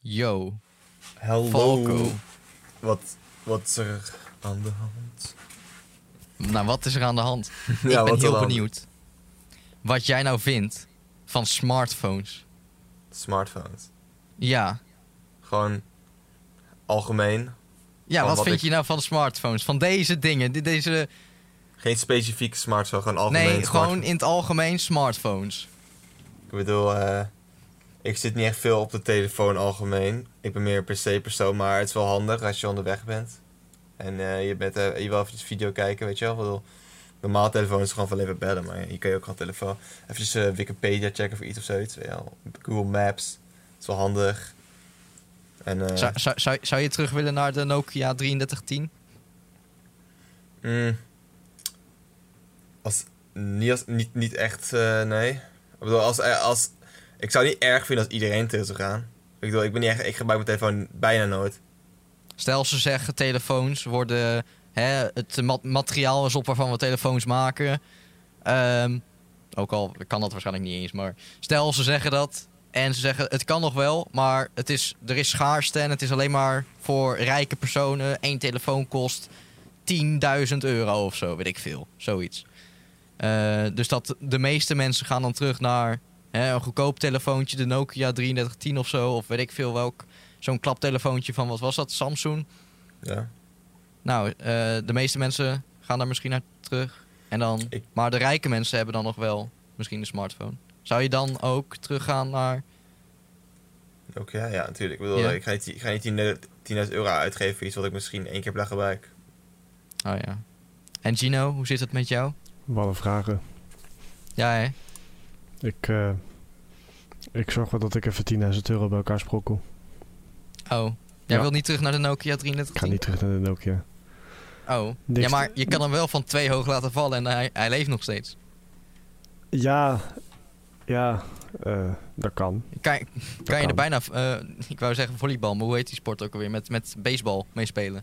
Yo, Hello. Falco. Wat, wat is er aan de hand? Nou, wat is er aan de hand? Ja, ik wat ben is er aan de heel hand? benieuwd wat jij nou vindt van smartphones. Smartphones. Ja, Gewoon algemeen. ja Van wat wat vind ik- je nou van smartphones? Van deze dingen, di- deze... Geen specifieke smartphone, gewoon algemeen. Nee, gewoon smartphone. in het algemeen smartphones. Ik bedoel, eh, ik zit niet echt veel op de telefoon algemeen. Ik ben meer een PC-persoon, maar het is wel handig als je onderweg bent. En eh, je, bent, eh, je wil even video kijken, weet je wel. Ik bedoel, normaal telefoon is gewoon van even bellen, maar je kan je ook gewoon telefoon. Even eh, Wikipedia checken voor iets of zoiets. weet je wel. Google Maps, het is wel handig. En, eh, Zou, zou, zou, zou je terug willen naar de Nokia 3310? Mm. Als, niet, als, niet, niet echt, eh, nee. Ik bedoel, als, eh, als, ik zou het niet erg vinden als iedereen terug zou gaan. Ik bedoel, ik, ben niet echt, ik gebruik mijn telefoon bijna nooit. Stel, ze zeggen telefoons worden... Hè, het ma- materiaal is op waarvan we telefoons maken. Ehm, ook al kan dat waarschijnlijk niet eens, maar... Stel, ze zeggen dat en ze zeggen het kan nog wel, maar het is, er is schaarste... en het is alleen maar voor rijke personen. Eén telefoon kost 10.000 euro of zo, weet ik veel. Zoiets. Eh, dus dat de meeste mensen gaan dan terug naar hè, een goedkoop telefoontje, de Nokia 3310 of zo, of weet ik veel welk. Zo'n klaptelefoontje van wat was dat? Samsung. Ja. Nou, eh, de meeste mensen gaan daar misschien naar terug. En dan, Ik- maar de rijke mensen hebben dan nog wel misschien een smartphone. Zou je dan ook teruggaan naar. Ook ja, ja, natuurlijk. Ik bedoel, Ja. ik ga niet, ik ga niet 10.000 10.000 euro uitgeven voor iets wat ik misschien één keer per dag gebruik. Oh ja. En Gino, hoe zit het met jou? Wat een vragen. Ja, hè? Ik, eh, ik zorg wel dat ik even 10.000 euro bij elkaar sprokkel. Oh. Jij Ja. wil niet terug naar de Nokia Ik ga 3310? niet Dus- terug naar de Nokia. Oh. Niks Ja, maar te- je kan hem wel van twee hoog laten vallen en hij, hij leeft nog steeds. Ja, ja, eh, dat kan. Kan, kan je er kan. bijna, eh, ik wou zeggen volleybal, maar hoe heet die sport ook alweer? Met, met baseball meespelen.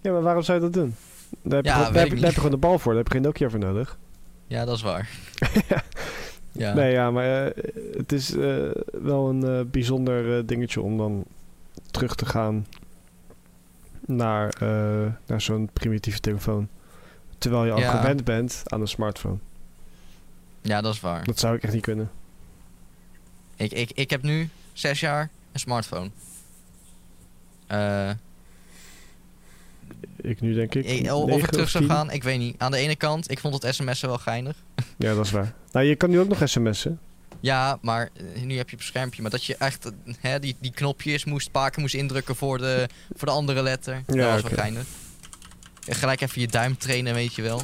Ja, maar waarom zou je dat doen? Daar heb, Ja, je, gewoon, weet ik daar heb, niet. je- daar heb je gewoon de bal voor. Daar heb je geen Nokia voor nodig. Ja, dat is waar. ja. Nee, ja, maar eh, het is eh, wel een eh, bijzonder eh, dingetje om dan terug te gaan naar, eh, naar zo'n primitieve telefoon. Terwijl je al Ja. gewend bent aan een smartphone. ja, dat is waar. Dat zou ik echt niet kunnen. Ik, ik, ik heb nu zes jaar een smartphone. Eh, Ik nu denk ik. ik- of ik negen terug of zou tien. gaan, ik weet niet. Aan de ene kant, ik vond het sms'en wel geinig. Ja, dat is waar. Nou, je kan nu ook nog sms'en. Ja, maar eh, nu heb je op een schermpje. Maar dat je echt eh, hè, die, die knopjes moest, een paar keer moest indrukken voor de, voor de andere letter. dat was wel oké. geinig. En gelijk even je duim trainen, weet je wel.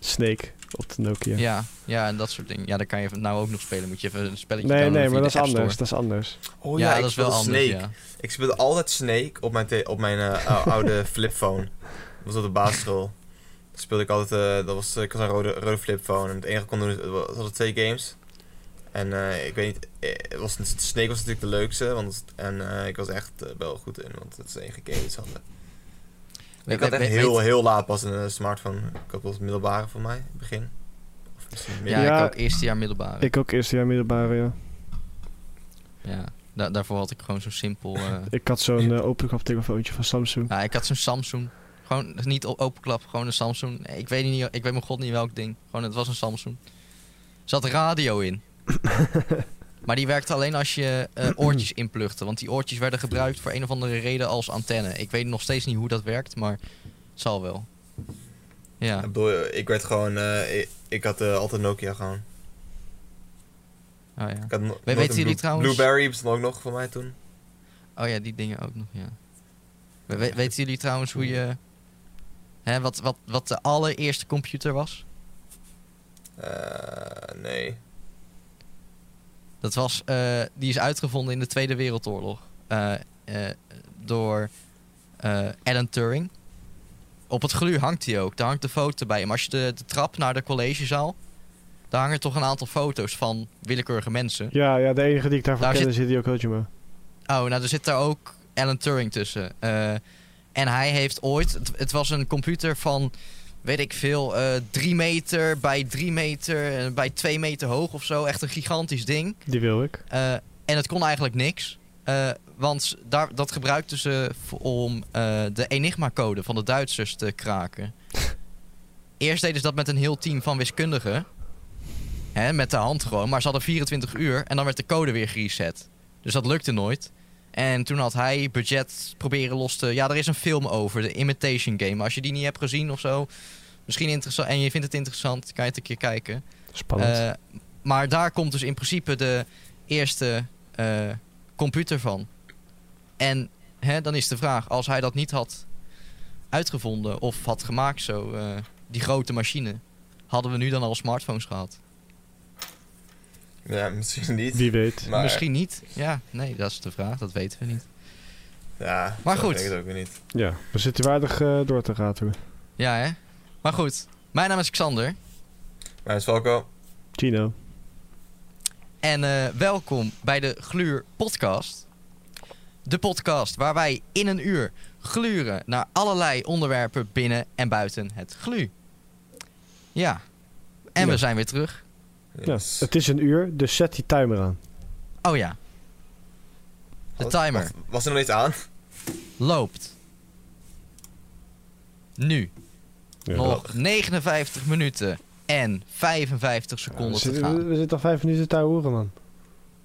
Snake op de Nokia. Ja, ja, en dat soort dingen. Ja, dan kan je nou ook nog spelen. Moet je even een spelletje nee, downloaden nee, via maar dat is de App Store. anders. Dat is anders. Oh ja, dat is wel anders, Snake. ja. Ik speelde altijd Snake op mijn, te- op mijn eh, ou- oude flipphone. Dat was op de basisschool. Dat speelde ik altijd, eh, dat was, ik had een rode, rode flipphone. En het enige wat ik kon doen, was hadden twee games. En eh, ik weet niet, eh, het was, Snake was natuurlijk de leukste. Want, en eh, ik was echt eh, wel goed in, want het is de enige game die ze hadden. Ik had Weet- echt weet- heel, heel laat pas een eh, smartphone. Ik had wel het middelbare voor mij, in het begin. Of misschien Ja, midden- Ja, ik ook eerste jaar middelbare. Ik ook eerste jaar middelbare, ja. Ja, da- daarvoor had ik gewoon zo'n simpel... eh, Ik had zo'n eh, openklap telefoontje van Samsung. ja, ik had zo'n Samsung. Gewoon niet op openklap, gewoon een Samsung. Ik weet, niet, ik weet mijn god niet welk ding. Gewoon, het was een Samsung. Er zat radio in. maar die werkte alleen als je eh, oortjes inpluchtte. Want die oortjes werden gebruikt voor een of andere reden als antenne. Ik weet nog steeds niet hoe dat werkt, maar het zal wel. Ja. Ik bedoel, ik werd gewoon, eh, ik, ik had eh, altijd Nokia gewoon. Oh, ja. Ik had no- nooit weten een jullie Blue- trouwens- Blueberry bestond ook nog voor mij toen. Oh ja, die dingen ook nog, ja. We- we- weten jullie trouwens hoe je... Hè, wat, wat, wat de allereerste computer was? Eh, nee. Dat was, eh, die is uitgevonden in de Tweede Wereldoorlog. eh, eh, door eh, Alan Turing. Op het gluur hangt hij ook. Daar hangt de foto bij hem. Als je de, de trap naar de collegezaal... daar hangen toch een aantal foto's van willekeurige mensen. Ja, ja, de enige die ik daarvan Daar kende zit die ook Kojima. Oh, nou, er zit daar ook Alan Turing tussen. Eh, en hij heeft ooit... Het, het was een computer van, weet ik veel... eh 3 meter bij 3 meter... eh, bij 2 meter hoog of zo. Echt een gigantisch ding. Die wil ik. Eh, En het kon eigenlijk niks. eh, want daar, dat gebruikten ze v- om eh, de Enigma-code van de Duitsers te kraken. Eerst deden ze dat met een heel team van wiskundigen. Hè, met de hand gewoon. Maar ze hadden 24 uur en dan werd de code weer gereset. Dus dat lukte nooit. En toen had hij budget proberen los te... Ja, er is een film over, de Imitation Game. Als je die niet hebt gezien of zo... Misschien interessant en je vindt het interessant, kan je het een keer kijken. Spannend. Eh, maar daar komt dus in principe de eerste eh, computer van. En hè, dan is de vraag, als hij dat niet had uitgevonden of had gemaakt zo, eh, die grote machine, hadden we nu dan al smartphones gehad? Ja, misschien niet. Wie weet. Maar, Misschien niet. Ja, nee, dat is de vraag, dat weten we niet. Ja, Maar zo goed. denk Ik het ook weer niet. Ja, we zitten waardig eh, door te ratelen. Ja, hè? Maar goed, mijn naam is Xander Maar het is Falco. Gino. en eh, welkom bij de Gluur Podcast. De podcast waar wij in een uur gluren naar allerlei onderwerpen binnen en buiten het glu. Ja, en Ja. we zijn weer terug. Yes. Ja, het is een uur, dus zet die timer aan. Oh ja, de Oh, Wat- timer wat- Was er nog iets aan? loopt. Nu Ja. nog 59 minuten en 55 we, seconden te zitten, we- gaan. we zitten al vijf minuten te horen, man.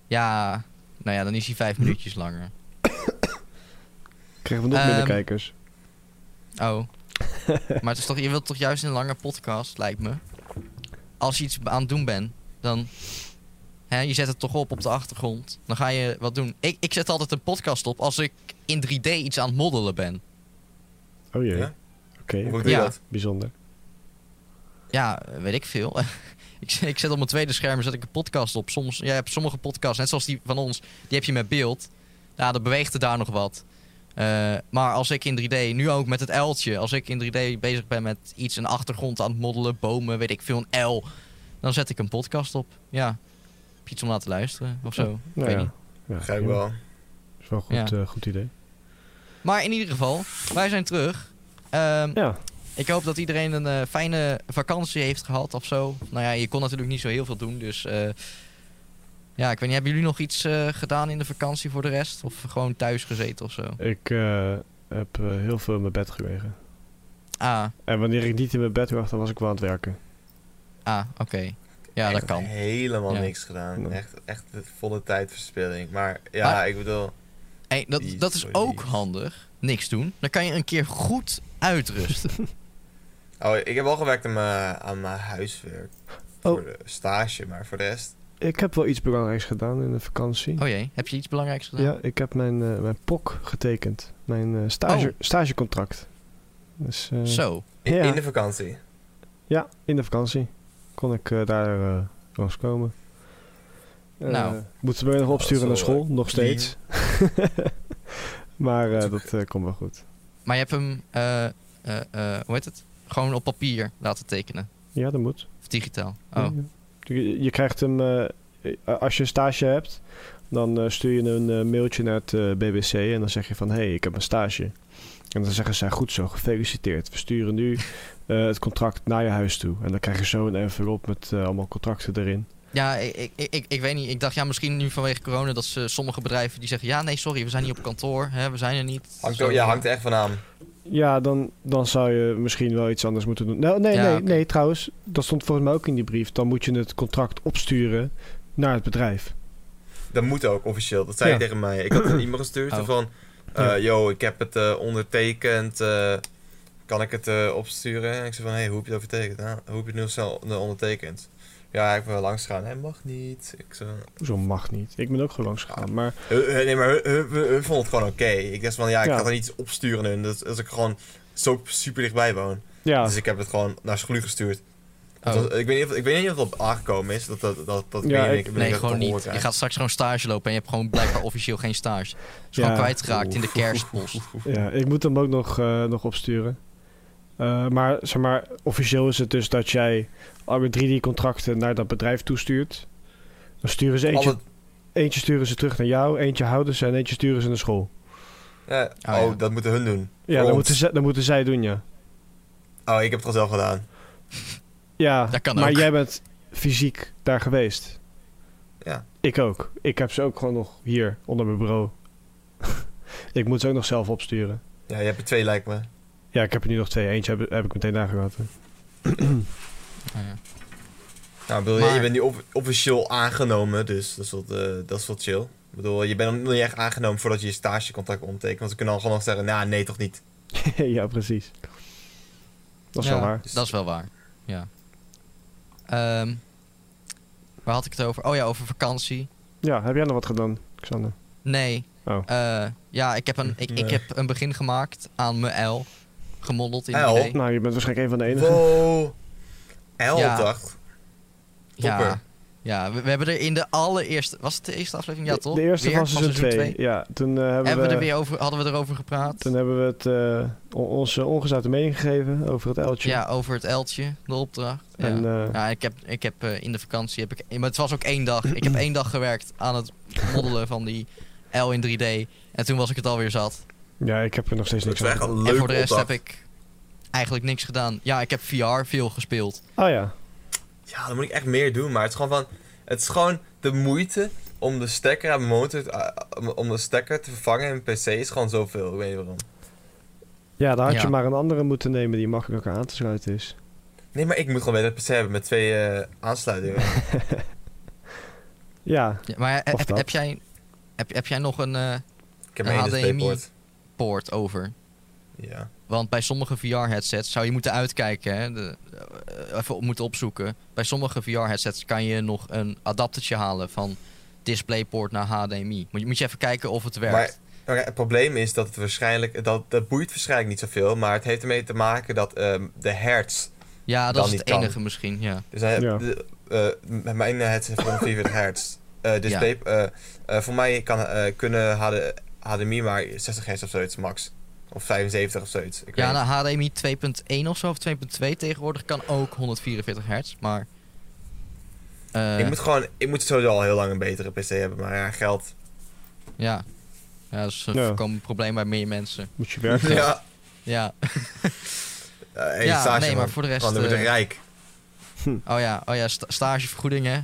Ja, nou ja, dan is hij vijf minuutjes langer. Krijgen we nog Ehm, minder kijkers. Oh. maar het is toch, je wilt toch juist een lange podcast, lijkt me. Als je iets aan het doen bent, dan. Hè, je zet het toch op op de achtergrond. Dan ga je wat doen. Ik, ik zet altijd een podcast op als ik in 3D iets aan het moddelen ben. Oh jee. Ja? Oké, Hoe doe je Ja. dat? bijzonder. Ja, weet ik veel. ik, zet- ik zet op mijn tweede scherm zet ik een podcast op. Soms, jij hebt sommige podcasts, net zoals die van ons, die heb je met beeld. Ja, dan beweegt het daar nog wat. Eh, maar als ik in 3D, nu ook met het L'tje, als ik in 3D bezig ben met iets, een achtergrond aan het moddelen, bomen, weet ik veel, een L, dan zet ik een podcast op. Ja, Heb je iets om naar te luisteren of zo. Nou weet ja. niet. Ja, Begrijp ik prima. wel. Is wel een goed, Ja. eh, goed idee. Maar in ieder geval, wij zijn terug. Ehm, Ja, Ik hoop dat iedereen een eh, fijne vakantie heeft gehad of zo. Nou ja, je kon natuurlijk niet zo heel veel doen, dus... eh, ja, ik weet niet, hebben jullie nog iets eh, gedaan in de vakantie voor de rest? Of gewoon thuis gezeten of zo? ik eh, heb eh, heel veel in mijn bed gelegen. Ah, En wanneer ik niet in mijn bed lag, dan was ik wel aan het werken. ah, oké. Ja, dat Echt kan. Helemaal Ja. niks gedaan. Nee. Echt, echt de volle tijdverspilling. Maar ja, Maar- ik bedoel, Hey, dat, dat is ook handig, niks doen. Dan kan je een keer goed uitrusten. oh, ik heb wel gewerkt aan mijn, aan mijn huiswerk. Voor Oh. de stage, maar voor de rest. Ik heb wel iets belangrijks gedaan in de vakantie. Oh jee, heb je iets belangrijks gedaan? Ja, ik heb mijn, eh, mijn POC getekend. Mijn eh, stage, Oh. stagecontract. Dus, eh, Zo, In, Ja. in de vakantie. Ja, in de vakantie kon ik eh, daar eh langskomen. Eh, Nou. Moeten we nog Oh, opsturen dat naar is wel, school, nog lean. steeds. maar eh, dat eh, komt wel goed. maar je hebt hem, eh, eh, eh, hoe heet het? Gewoon op papier laten tekenen. Ja, dat moet. Of digitaal. Oh, Je, je krijgt hem, eh, eh, als je een stage hebt, dan eh, stuur je een eh, mailtje naar het eh, BBC en dan zeg je van, hé, hey, ik heb een stage. En dan zeggen zij, goed zo, gefeliciteerd. We sturen nu eh, het contract naar je huis toe. En dan krijg je zo een envelop met eh, allemaal contracten erin. Ja, ik, ik, ik, ik weet niet. Ik dacht, ja, misschien nu vanwege corona dat ze, sommige bedrijven die zeggen... ja, nee, sorry, we zijn niet op kantoor, hè, we zijn er niet. Hangt Zo. er, ja, hangt er echt van aan. Ja, dan, dan zou je misschien wel iets anders moeten doen. Nou, nee, Ja, nee, oké. nee, trouwens. Dat stond volgens mij ook in die brief. Dan moet je het contract opsturen naar het bedrijf. Dat moet ook officieel. Dat zei Ja. je tegen mij. Ik had een e-mail gestuurd Oh. van... eh, Ja. Yo, ik heb het eh, ondertekend. eh, kan ik het eh, opsturen? En ik zei van... Hey, hoe heb je het overtekend? Nou, hoe heb je het nu snel eh, ondertekend? Ja, ik ben wel langs gegaan. Hij mag niet. Ik zei... Zo mag niet. Ik ben ook gewoon langs Ah. gegaan. Maar "Huh, huh, nee, maar eh, hun, hun- hun- hun vond het gewoon oké. Ik dacht van... Ja, ik Ja. ga er iets opsturen. En dat, dat ik gewoon zo super dichtbij woon. ja, Dus ik heb het gewoon naar Schlu gestuurd. Oh. Dat- ik, weet niet of, ik weet niet of dat aangekomen is. Dat, dat, dat, dat Ja, ik, weet ik- ik- Nee, ik- gewoon dat niet. gehoord Je heb. gaat straks gewoon stage lopen en je hebt gewoon blijkbaar officieel geen stage. Het is Ja. gewoon kwijtgeraakt in de kerstpost. ja, ik moet hem ook nog, eh, nog opsturen. Eh, maar, zeg maar officieel is het dus dat jij alle drie die contracten naar dat bedrijf toestuurt. Dan sturen ze eentje, Alle- eentje sturen ze terug naar jou, eentje houden ze en eentje sturen ze naar school. Ja, ja. oh, dat moeten hun doen. Ja, Voor dat ons. moeten, zij, dat moeten zij doen, ja. Oh, ik heb het gewoon zelf gedaan. Ja, Dat kan maar ook. jij bent fysiek daar geweest. Ja. Ik ook. Ik heb ze ook gewoon nog hier onder mijn bureau. ik moet ze ook nog zelf opsturen. Ja, je hebt er twee lijkt me. Ja, ik heb er nu nog twee. Eentje heb, heb ik meteen nagelaten. Ja. Nou, ik bedoel, je- Maar- je bent nu op- officieel aangenomen, dus dat is, wel, eh, dat is wel chill. Ik bedoel, je bent nog niet echt aangenomen voordat je je stagecontract omtekent. Want ze kunnen al gewoon nog zeggen, nou, nee, toch niet. ja, precies. Dat is Ja, wel waar. Dat is wel waar. Ja. Ehm, waar had ik het over? Oh ja, over vakantie. Ja, heb jij nog wat gedaan, Xander? Nee. Oh. Eh, ja, ik heb, een, ik, ik Nee. heb een begin gemaakt aan mijn L. Gemodeld in E. L? IDE. Nou, je bent waarschijnlijk een van de enigen. Wow. Helopdracht. Ja, Topper. ja we, we hebben er in de allereerste... Was het de eerste aflevering? Ja, De- toch? De eerste Weer van seizoen 2. Ja, toen eh, hebben, Hebben we we, er weer over, hadden we erover gepraat? toen hebben we het, eh, on- onze ongezouten mening gegeven over het uiltje. Ja, over het L'tje, de opdracht. Ja. En eh, Ja, ik heb, ik heb eh, in de vakantie, heb ik, maar het was ook één dag. Ik heb één dag gewerkt aan het modellen van die L in 3D. En toen was ik het alweer zat. ja, ik heb er nog steeds Dat niks is aan. echt een leuke en voor de rest opdracht. heb ik eigenlijk niks gedaan. Ja, ik heb VR veel gespeeld. Ah ja. Ja, dan moet ik echt meer doen. Maar het is gewoon van. Het is gewoon de moeite om de stekker aan mijn motor. te- ah, om- om de stekker te vervangen in een PC is gewoon zoveel. Ik weet niet waarom. Ja, daar had Ja. je maar een andere moeten nemen die makkelijker aan te sluiten is. Nee, maar ik moet gewoon weer een PC hebben met twee eh, aansluitingen. Ja, Ja, maar he- Of heb, dat. heb, jij, heb, heb jij nog een eh, Ik heb Een één HDMI. USB-poort. poort over? Ja. Want bij sommige VR-headsets zou je moeten uitkijken, hè? De, eh, even op- moeten opzoeken. Bij sommige VR-headsets kan je nog een adaptertje halen van DisplayPort naar HDMI. Moet je, moet je even kijken of het werkt. Maar- Maar het probleem is dat het waarschijnlijk. Dat, dat boeit waarschijnlijk niet zoveel. Maar het heeft ermee te maken dat ehm, de hertz. ja, dat dan is niet het kan. enige misschien, ja. Dus hij, Ja. de, eh, mijn headset heeft gewoon 44 hertz. Eh, display, eh, eh, voor mij kan, eh, kunnen HD, HDMI maar 60 hertz of zoiets max. Of 75 of zoiets. Ik weet Ja, nou, niet. HDMI 2.1 of zo, of 2.2 tegenwoordig kan ook 144 hertz, maar... eh, ik moet gewoon, ik moet sowieso al heel lang een betere PC hebben, maar ja, geld. ja. ja, dat is een Ja. voorkomend probleem bij meer mensen. moet je werken. Ja, Ja, Eh, hey, ja stage, nee, man. maar voor de rest... Gewoon, dan word eh, ik rijk. oh ja, oh ja sta- stagevergoeding, hè?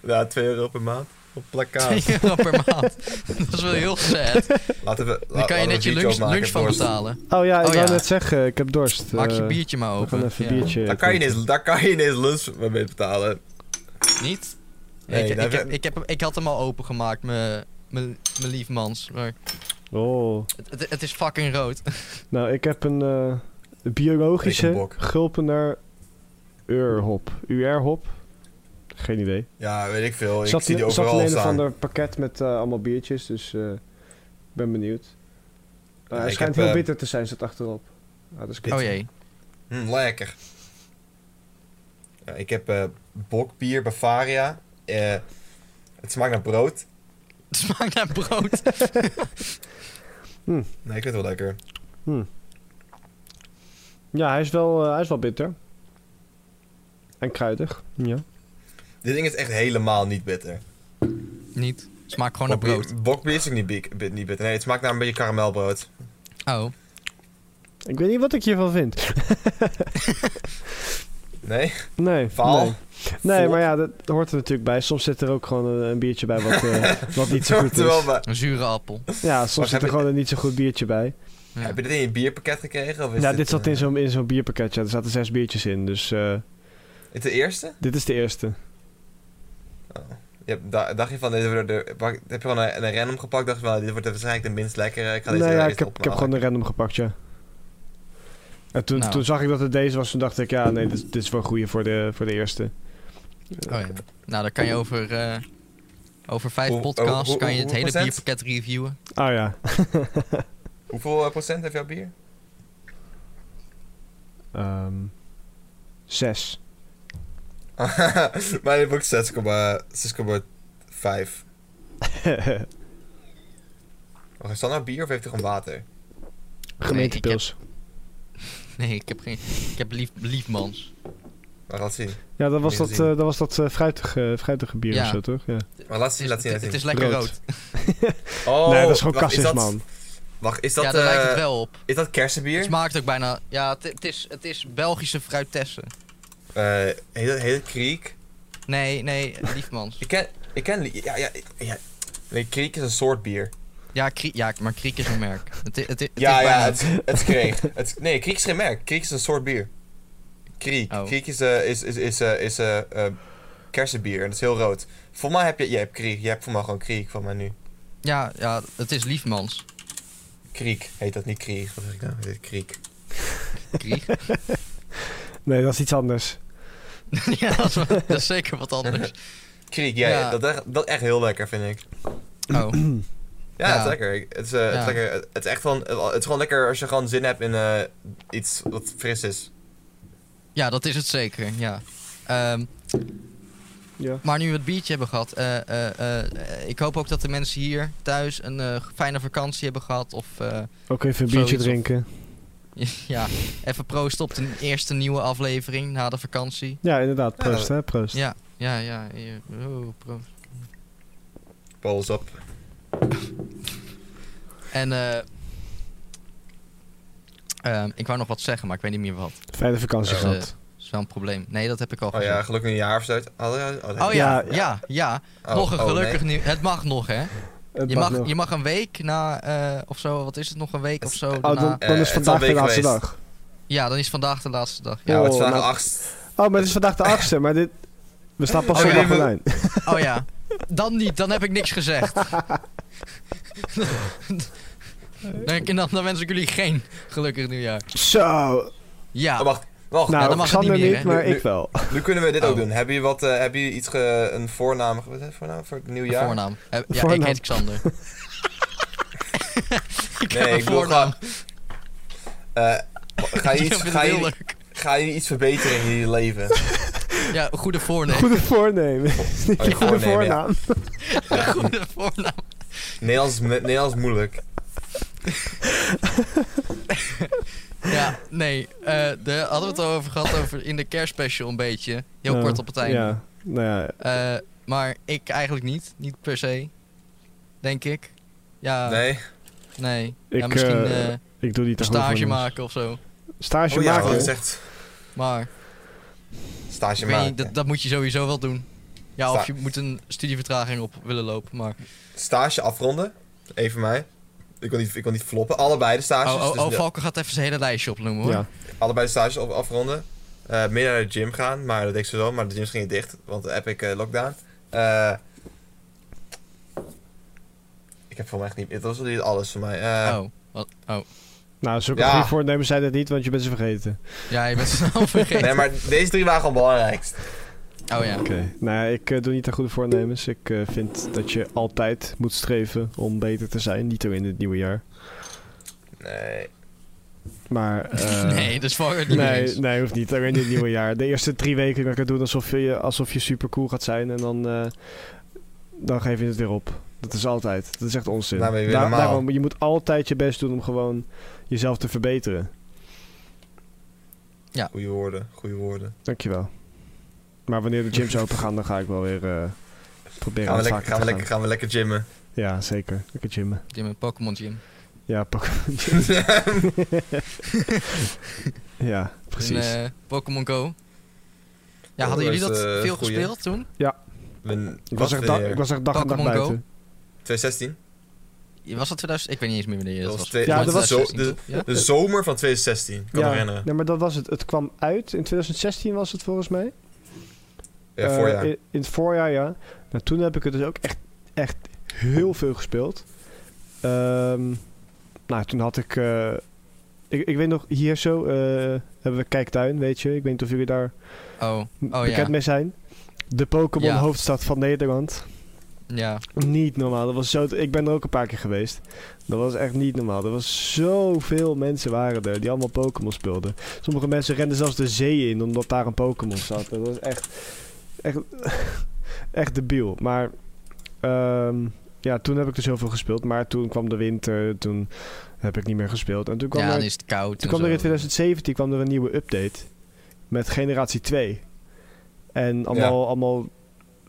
Ja, 2 euro per maand. Op plakkaat. 2 euro per maand. dat is wel heel sad. Laten we. Dan kan je net je lunch, lunch van betalen. betalen. Oh ja, ik Oh wou ja. net zeggen, ik heb dorst. Maak je Eh, biertje maar We open. gaan even Ja. biertje. Daar kan, je drinken. ineens, daar kan je ineens lunch mee betalen. Niet? Nee, ik, daar ik, heb, heb- ik, heb, ik had hem al opengemaakt, mijn mijn- mijn liefmans. Maar Oh. het, het, het is fucking rood. Nou, ik heb een eh, biologische Rekenbok. gulpener Urhop. UR-hop? Geen idee. Ja, weet ik veel. Ik zat zie die in- zat in overal een of staan. ander pakket met eh, allemaal biertjes, dus eh, ik ben benieuwd. Eh, Ja, hij ik schijnt heb, heel eh, bitter te zijn, staat achterop. Ah, dat is kut. Oh jee. Mm, lekker. Ja, ik heb eh, bokbier Bavaria. Eh, het smaakt naar brood. Het smaakt naar brood. Nee, ik vind het wel lekker. Ja, hij is, wel, eh, hij is wel bitter. En kruidig. Ja. Dit ding is echt helemaal niet bitter. Niet. Het smaakt gewoon naar brood. Bokbier, bokbier is ook niet, bik- bit- niet bitter. Nee, het smaakt naar een beetje karamelbrood. Oh. Ik weet niet wat ik hiervan vind. Nee? Nee. Vaal? nee. Nee, Vol? maar ja, dat hoort er natuurlijk bij. Soms zit er ook gewoon een, een biertje bij wat, eh, wat niet Het zo hoort goed er wel is. bij. Een zure appel. Ja, soms Wacht, zit er heb je- gewoon een niet zo goed biertje bij. Ja. Heb je dit in je bierpakket gekregen? Of is Ja, dit zat in eh, zo'n in zo'n bierpakketje. Ja, er zaten zes biertjes in, dus eh, Is de eerste? dit is de eerste. Je hebt, da- dacht je van, dit wordt de, pak- heb je gewoon een, een random gepakt? Dacht je van, nou, dit wordt waarschijnlijk de minst lekkere. Ik ga deze nee, er ja, eerst ik heb, op ik heb gewoon halen. een random gepakt, ja. En toen, Nou. toen zag ik dat het deze was, toen dacht ik, ja, nee, dit, dit is wel een goeie voor de, voor de eerste. Oh, ja. Nou, dan kan je over, eh, over vijf Hoe- podcasts hoe- hoe- kan je het hoe- hele procent? bierpakket reviewen. Oh ja, Hoeveel eh, procent heeft jouw bier? Ehm, zes. Mijn heb ook 6,5. Wacht, Is dat nou bier of heeft hij gewoon water? Gemeentepils. Nee, ik heb geen. Ik heb lief, liefmans. Maar laat zien. Ja, dat was Niet dat, eh, gezien. dat, was dat eh, fruitige, fruitige bier Ja. of zo, toch? Ja. Maar laat Het zien, is, laat zien, het, laat zien. het is lekker Rood. rood. Oh, nee, dat is gewoon wacht, cassis, dat- man. Wacht, is dat, ja, daar eh, lijkt het wel op. is dat kersenbier? Het smaakt ook bijna. Ja, het, het is, het is Belgische fruitessen. Eh, heet dat, heet dat kriek? Nee, nee, liefmans. Ik ken, Ik ken die. Ja, ja, ja. Nee, kriek is een soort bier. Ja, Krie- ja maar Kriek is een merk. Het, i- het, i- het ja, is ja, bijna- het, het is kreeg. Het, is- nee, kriek is geen merk. Kriek is een soort bier. Kriek. Oh. Kriek is, eh is, is, is, eh, is eh, eh, kersenbier en dat is heel rood. Voor mij heb je, je hebt kriek. Je hebt voor mij gewoon kriek van mij nu. ja, ja, het is Liefmans. Kriek heet dat niet kriek. Wat zeg ik nou? Het heet kriek. Kriek. Nee, dat is iets anders. ja, dat is, wel- dat is zeker wat anders. Kriek, ja, Ja. Dat, echt, dat echt heel lekker vind ik. Oh, Ja, Ja. het is lekker. Ik- Het is, eh, het Ja. is lekker. Het is echt gewoon, het is gewoon lekker als je gewoon zin hebt in eh, iets wat fris is. ja, dat is het zeker, ja. Ehm, Ja. maar nu we het biertje hebben gehad, eh, eh, eh, eh, ik hoop ook dat de mensen hier thuis een eh, fijne vakantie hebben gehad. Of eh, Ook even een biertje Zoiets of- drinken. ja, even proost op de eerste nieuwe aflevering na de vakantie. Ja, inderdaad. Ja. Proost, hè. Proost. Ja, ja, ja. hier. Oh, proost. Pols op. En eh, ehm, ik wou nog wat zeggen, maar ik weet niet meer wat. Fijne vakantie Eh, gehad. Dat is wel een probleem. Nee, dat heb ik al Oh ja, gezegd. gelukkig een jaar of zo. uit. Oh ja, oh, Oh ja, ja, Ja, ja. oh, nog een oh, nee. gelukkig nieuw. Het mag nog, hè? Het Je mag mag, nog. je mag een week na, eh of zo, wat is het, nog een week of zo? Oh, dan, daarna- Eh, dan is het is vandaag al de week laatste geweest. dag. Ja, dan is vandaag de laatste dag. Ja, maar het is Oh, vandaag nou- de achtste. Oh, maar het is vandaag de achtste. Maar dit... We staan pas Oké, zondag we- online. Oh ja, dan niet, dan heb ik niks gezegd. dan, dan, dan wens ik jullie geen gelukkig nieuwjaar. Zo. Ja, Oh, wacht, wacht. dan mag Nou, het Xander niet meer, niet, hè? maar Nu- ik wel. Nu kunnen we dit Oh. ook doen. Heb je, wat, eh, heb je iets, ge- een voornaam, wat is het voornaam voor het een nieuwjaar? voornaam. Eh, Ja, Voornaam. ik heet Xander. ik Nee, heb een ik bedoel voornaam. Eh, ga, je Die iets, vind ik ga, heel je, leuk. ga je iets verbeteren in je leven? Ja, een goede voornaam. Goede voornemen. Niet Oh, je je goede voornemen, ja. voornaam. Een goede voornaam. Nederlands, is me- Nederlands is moeilijk. Ja, nee. eh daar hadden we het al over gehad over in de kerstspecial een beetje. Heel Ja, kort op het einde. Ja. Nou ja, Eh, maar ik eigenlijk niet. Niet per se. Denk ik. Ja, nee. Nee? Ja, Ik, misschien eh, eh, ik doe niet aan goede stage voornemens. maken of zo. Stage oh ja, maken? wat zegt Maar stage ik weet niet, maken. dat, dat moet je sowieso wel doen. Ja, of Sta- je moet een studievertraging op willen lopen. Maar... Stage afronden. Even mij. Ik wil niet, ik wil niet floppen. Allebei de stages. Oh, oh, dus oh, de- Valken gaat even zijn hele lijstje opnoemen hoor. Ja. allebei de stages af- afronden. Eh meer naar de gym gaan, maar dat deed ik sowieso. Maar de gyms gingen dicht, want de epic eh, lockdown. Eh, ik heb voor mij echt niet... Dat was wel niet alles voor mij. Eh, Oh, wat, oh. Nou, zulke Ja. goede voornemens zijn dat niet, want je bent ze vergeten. Ja, je bent snel vergeten. Nee, maar deze drie waren gewoon belangrijkst. Oh ja. Oké. Nou, ik eh, doe niet aan goede voornemens. Ik eh, vind dat je altijd moet streven om beter te zijn. Niet alleen in het nieuwe jaar. Nee. Maar... eh, nee, dat is voor het niet meer eens. Nee, nee, hoeft niet. Alleen in het nieuwe jaar. De eerste drie weken kan ik het doen alsof je, alsof je super cool gaat zijn. En dan, eh, dan geef je het weer op. Dat is altijd. Dat is echt onzin. Nou, ben je weer normaal. daarom, je moet altijd je best doen om gewoon jezelf te verbeteren. Goeie woorden, goede woorden. Dankjewel. Maar wanneer de gyms open gaan, dan ga ik wel weer eh, proberen Gaan we, lekker, wat vaker gaan, we te lekker, gaan we lekker gymmen. Ja, zeker. Lekker gymmen. Jim, een Pokémon Jim. Ja, Pokémon. ja, In, precies. eh, Pokémon Go. Ja, Oh, hadden jullie dat dat is, eh, veel goeie. gespeeld toen? Mijn- ik, was wat echt da- weer? ik was echt dag en dag Pokémon Go? buiten. 2016? Was dat 2000? Ik weet niet eens meer wanneer dat, Dat was. was twee- Ja, dat was- 2016, toch? Ja? De zomer van 2016, ik kan me Ja, herinneren. nee, maar dat was het. Het kwam uit. In 2016 was het volgens mij. Ja, Eh, voorjaar. In, in het voorjaar, ja. Nou, toen heb ik het dus ook echt, echt heel veel gespeeld. Ehm, nou, toen had ik, eh, ik... Ik weet nog, hier zo eh, hebben we Kijktuin, weet je. Ik weet niet of jullie daar Oh, oh bekend ja. mee zijn. De Pokémon Ja. hoofdstad van Nederland. ja. Niet normaal. Dat was zo ik ben er ook een paar keer geweest. Dat was echt niet normaal. Er was zoveel mensen waren er die allemaal Pokémon speelden. Sommige mensen renden zelfs de zee in omdat daar een Pokémon zat. Dat was echt, echt, echt debiel. Maar ehm, ja, toen heb ik dus heel veel gespeeld. Maar toen kwam de winter, toen heb ik niet meer gespeeld. En toen kwam ja, er dan is het koud. en toen kwam er in zo. 2017 kwam er een nieuwe update. Met generatie 2. En allemaal, allemaal...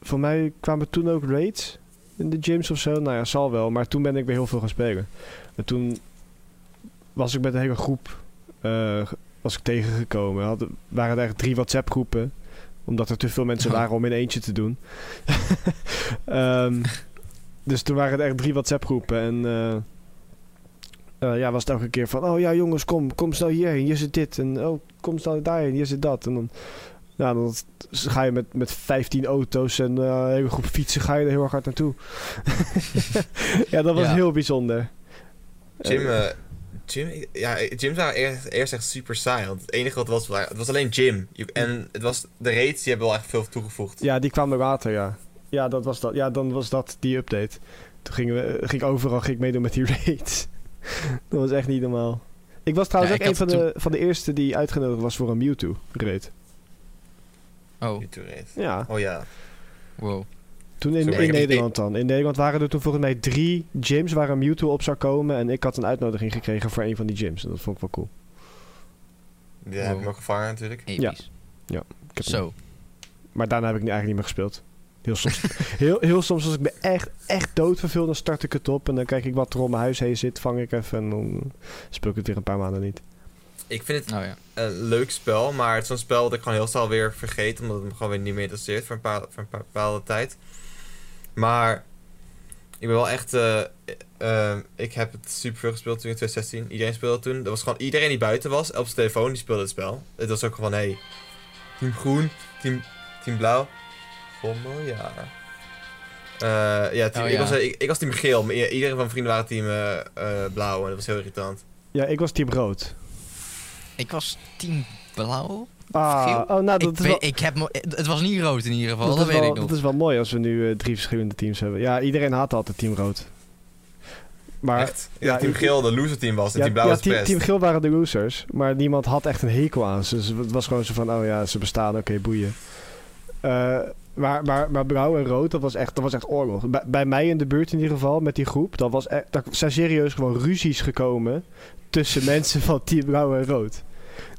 Voor mij kwamen toen ook raids in de gyms of zo. Nou ja, zal wel. Maar toen ben ik weer heel veel gaan spelen. En toen was ik met een hele groep... eh, was ik tegengekomen. Hadden, waren er eigenlijk drie WhatsApp groepen. Omdat er te veel mensen waren om in eentje te doen. Ehm, dus toen waren er echt drie WhatsApp groepen. En eh, eh, ja, was het elke keer van... Oh ja jongens, kom, kom snel hierheen. Hier zit dit. En oh, kom snel daarheen. Hier zit dat. En dan, nou, dan ga je met, met 15 auto's en eh, een hele groep fietsen... ga je er heel erg hard naartoe. ja, dat was Ja. heel bijzonder. Jim, Eh, eh, Jim, ja, Jim waren eerst, eerst echt super saai. Want het enige wat was, wa- het was alleen Jim. Je- En het was, de raids die hebben wel echt veel toegevoegd. Ja, die kwamen later, ja. Ja, dat was dat. Ja, dan was dat die update. Toen gingen we, eh, ging ik overal ging ik meedoen met die raids. dat was echt niet normaal. Ik was trouwens Ja, ook ik een van had de, van de eerste die uitgenodigd was voor een Mewtwo raid. Oh, Die toen raid. Ja, Oh ja. wow. toen in, Zo, in ik heb- Nederland dan. In Nederland waren er toen volgens mij drie gyms waar een Mewtwo op zou komen. En ik had een uitnodiging gekregen voor een van die gyms. En dat vond ik wel cool. Die heb ik nog gevangen natuurlijk. Episch. Ik heb Zo. Maar daarna heb ik nu eigenlijk niet meer gespeeld. Heel soms, heel, heel soms als ik me echt, echt dood verveel, dan start ik het op. En dan kijk ik wat er om mijn huis heen zit, vang ik even. En dan speel ik het weer een paar maanden niet. Ik vind het Nou ja. een leuk spel, maar het is zo'n spel dat ik gewoon heel snel weer vergeet, omdat het me gewoon weer niet meer interesseert voor een, paar, voor een paar- bepaalde tijd. Maar ik ben wel echt. eh, eh, ik heb het super veel gespeeld toen in 2016. Iedereen speelde het toen. Dat was gewoon iedereen die buiten was op zijn telefoon die speelde het spel. Het was ook gewoon, hé, hey, team groen, team, team blauw. Gommel, ja. Eh, ja, team- Oh, Ik, ja. was, eh, ik, ik was team geel, maar i- iedereen van mijn vrienden waren team eh, eh, blauw en dat was heel irritant. Ja, ik was team rood. Ik was team blauw. Geel? Ah, oh, nou, dat ik, is weet- wel... ik heb, me- het was niet rood in ieder geval, dat, dat, is weet wel, ik nog. dat is wel mooi als we nu eh, drie verschillende teams hebben. Ja, iedereen haat altijd team rood. Maar echt? Ja, ja, team ik- geel de loser team was en ja, team blauw ja, was team, best. team geel waren de losers. Maar niemand had echt een hekel aan ze. Dus het was gewoon zo van, oh ja, ze bestaan, oké, boeien. Eh, maar, maar, maar blauw en rood, dat was echt, dat was echt oorlog. Bij, bij mij in de buurt in ieder geval, met die groep, dat was echt, daar zijn serieus gewoon ruzies gekomen tussen mensen van team blauw en rood.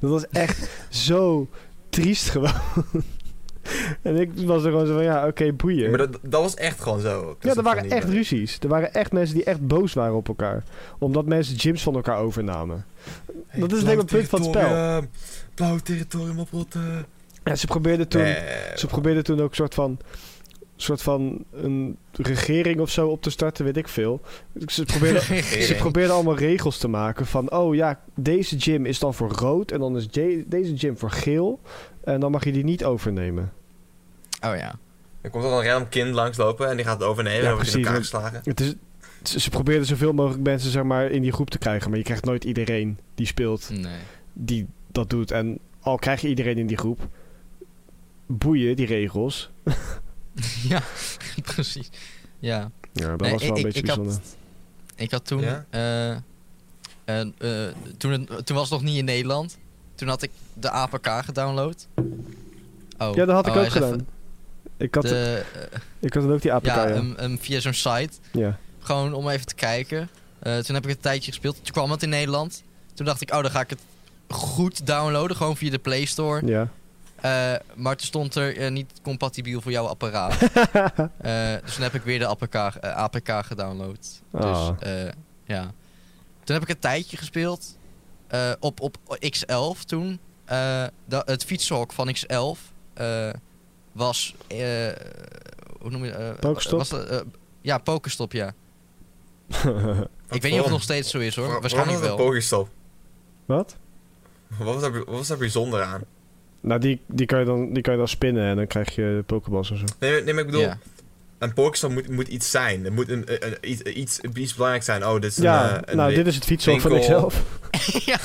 Dat was echt zo triest gewoon. en ik was er gewoon zo van, ja, oké, boeien. Maar dat, dat was echt gewoon zo. Ik Ja, was er waren gewoon echt niet- ruzies. Er waren echt mensen die echt boos waren op elkaar. Omdat mensen gyms van elkaar overnamen. Hey, dat is blauw denk ik het punt van het spel. territorium, Blauw territorium oprotten. Ja, ze probeerden toen, Nee, ze probeerden toen ook soort van, soort van een regering of zo op te starten, weet ik veel. Ze probeerden, ze regering. probeerden allemaal regels te maken van, oh ja, deze gym is dan voor rood en dan is je- deze gym voor geel. En dan mag je die niet overnemen. Oh ja. er komt dan een random kind langslopen en die gaat het overnemen en Ja, dan wordt hij in elkaar precies, geslagen. Het is, ze ze probeerden zoveel mogelijk mensen zeg maar, in die groep te krijgen, maar je krijgt nooit iedereen die speelt Nee. die dat doet. En al krijg je iedereen in die groep, boeien die regels. ja, precies. Ja. Ja, dat Nee, was wel ik- een ik- beetje ik had- bijzonder. Ik had toen. Ja? eh, eh, eh, toen, het- toen was het nog niet in Nederland. Toen had ik de APK gedownload. Oh. Ja, dat had ik oh, hij ook is gedaan. even Ik had, de, eh, ik had dan ook die APK, ja. ja, hem- hem via zo'n site. ja. Gewoon om even te kijken. Eh, toen heb ik het een tijdje gespeeld. Toen kwam het in Nederland. Toen dacht ik, oh, dan ga ik het goed downloaden. Gewoon via de Play Store. ja. Eh, maar toen stond er eh, niet compatibel voor jouw apparaat. Eh, dus toen heb ik weer de APK, eh, APK gedownload. Ah. Dus eh, ja. Toen heb ik een tijdje gespeeld. eh, op, op X11 toen. Eh, da- het fietshok van X11 eh, was. eh, hoe noem je dat? Eh, Pokestop? was dat, eh, ja, Pokestop, ja. ik weet niet of het nog steeds zo is hoor. Waarom- Waarschijnlijk waarom wel. was dat Pokestop? Wat? Wat was daar, wat was daar bijzonder aan? Nou, die, die, kan je dan, die kan je dan spinnen en dan krijg je pokeballs en zo. Nee, nee, maar ik bedoel, Ja. een Pokestop moet, moet iets zijn. Er moet een, een- een- iets, iets, iets belangrijks zijn. Oh, dit is ja, een, eh, een nou, wi- dit is het fietsen van winkel. ikzelf. ja,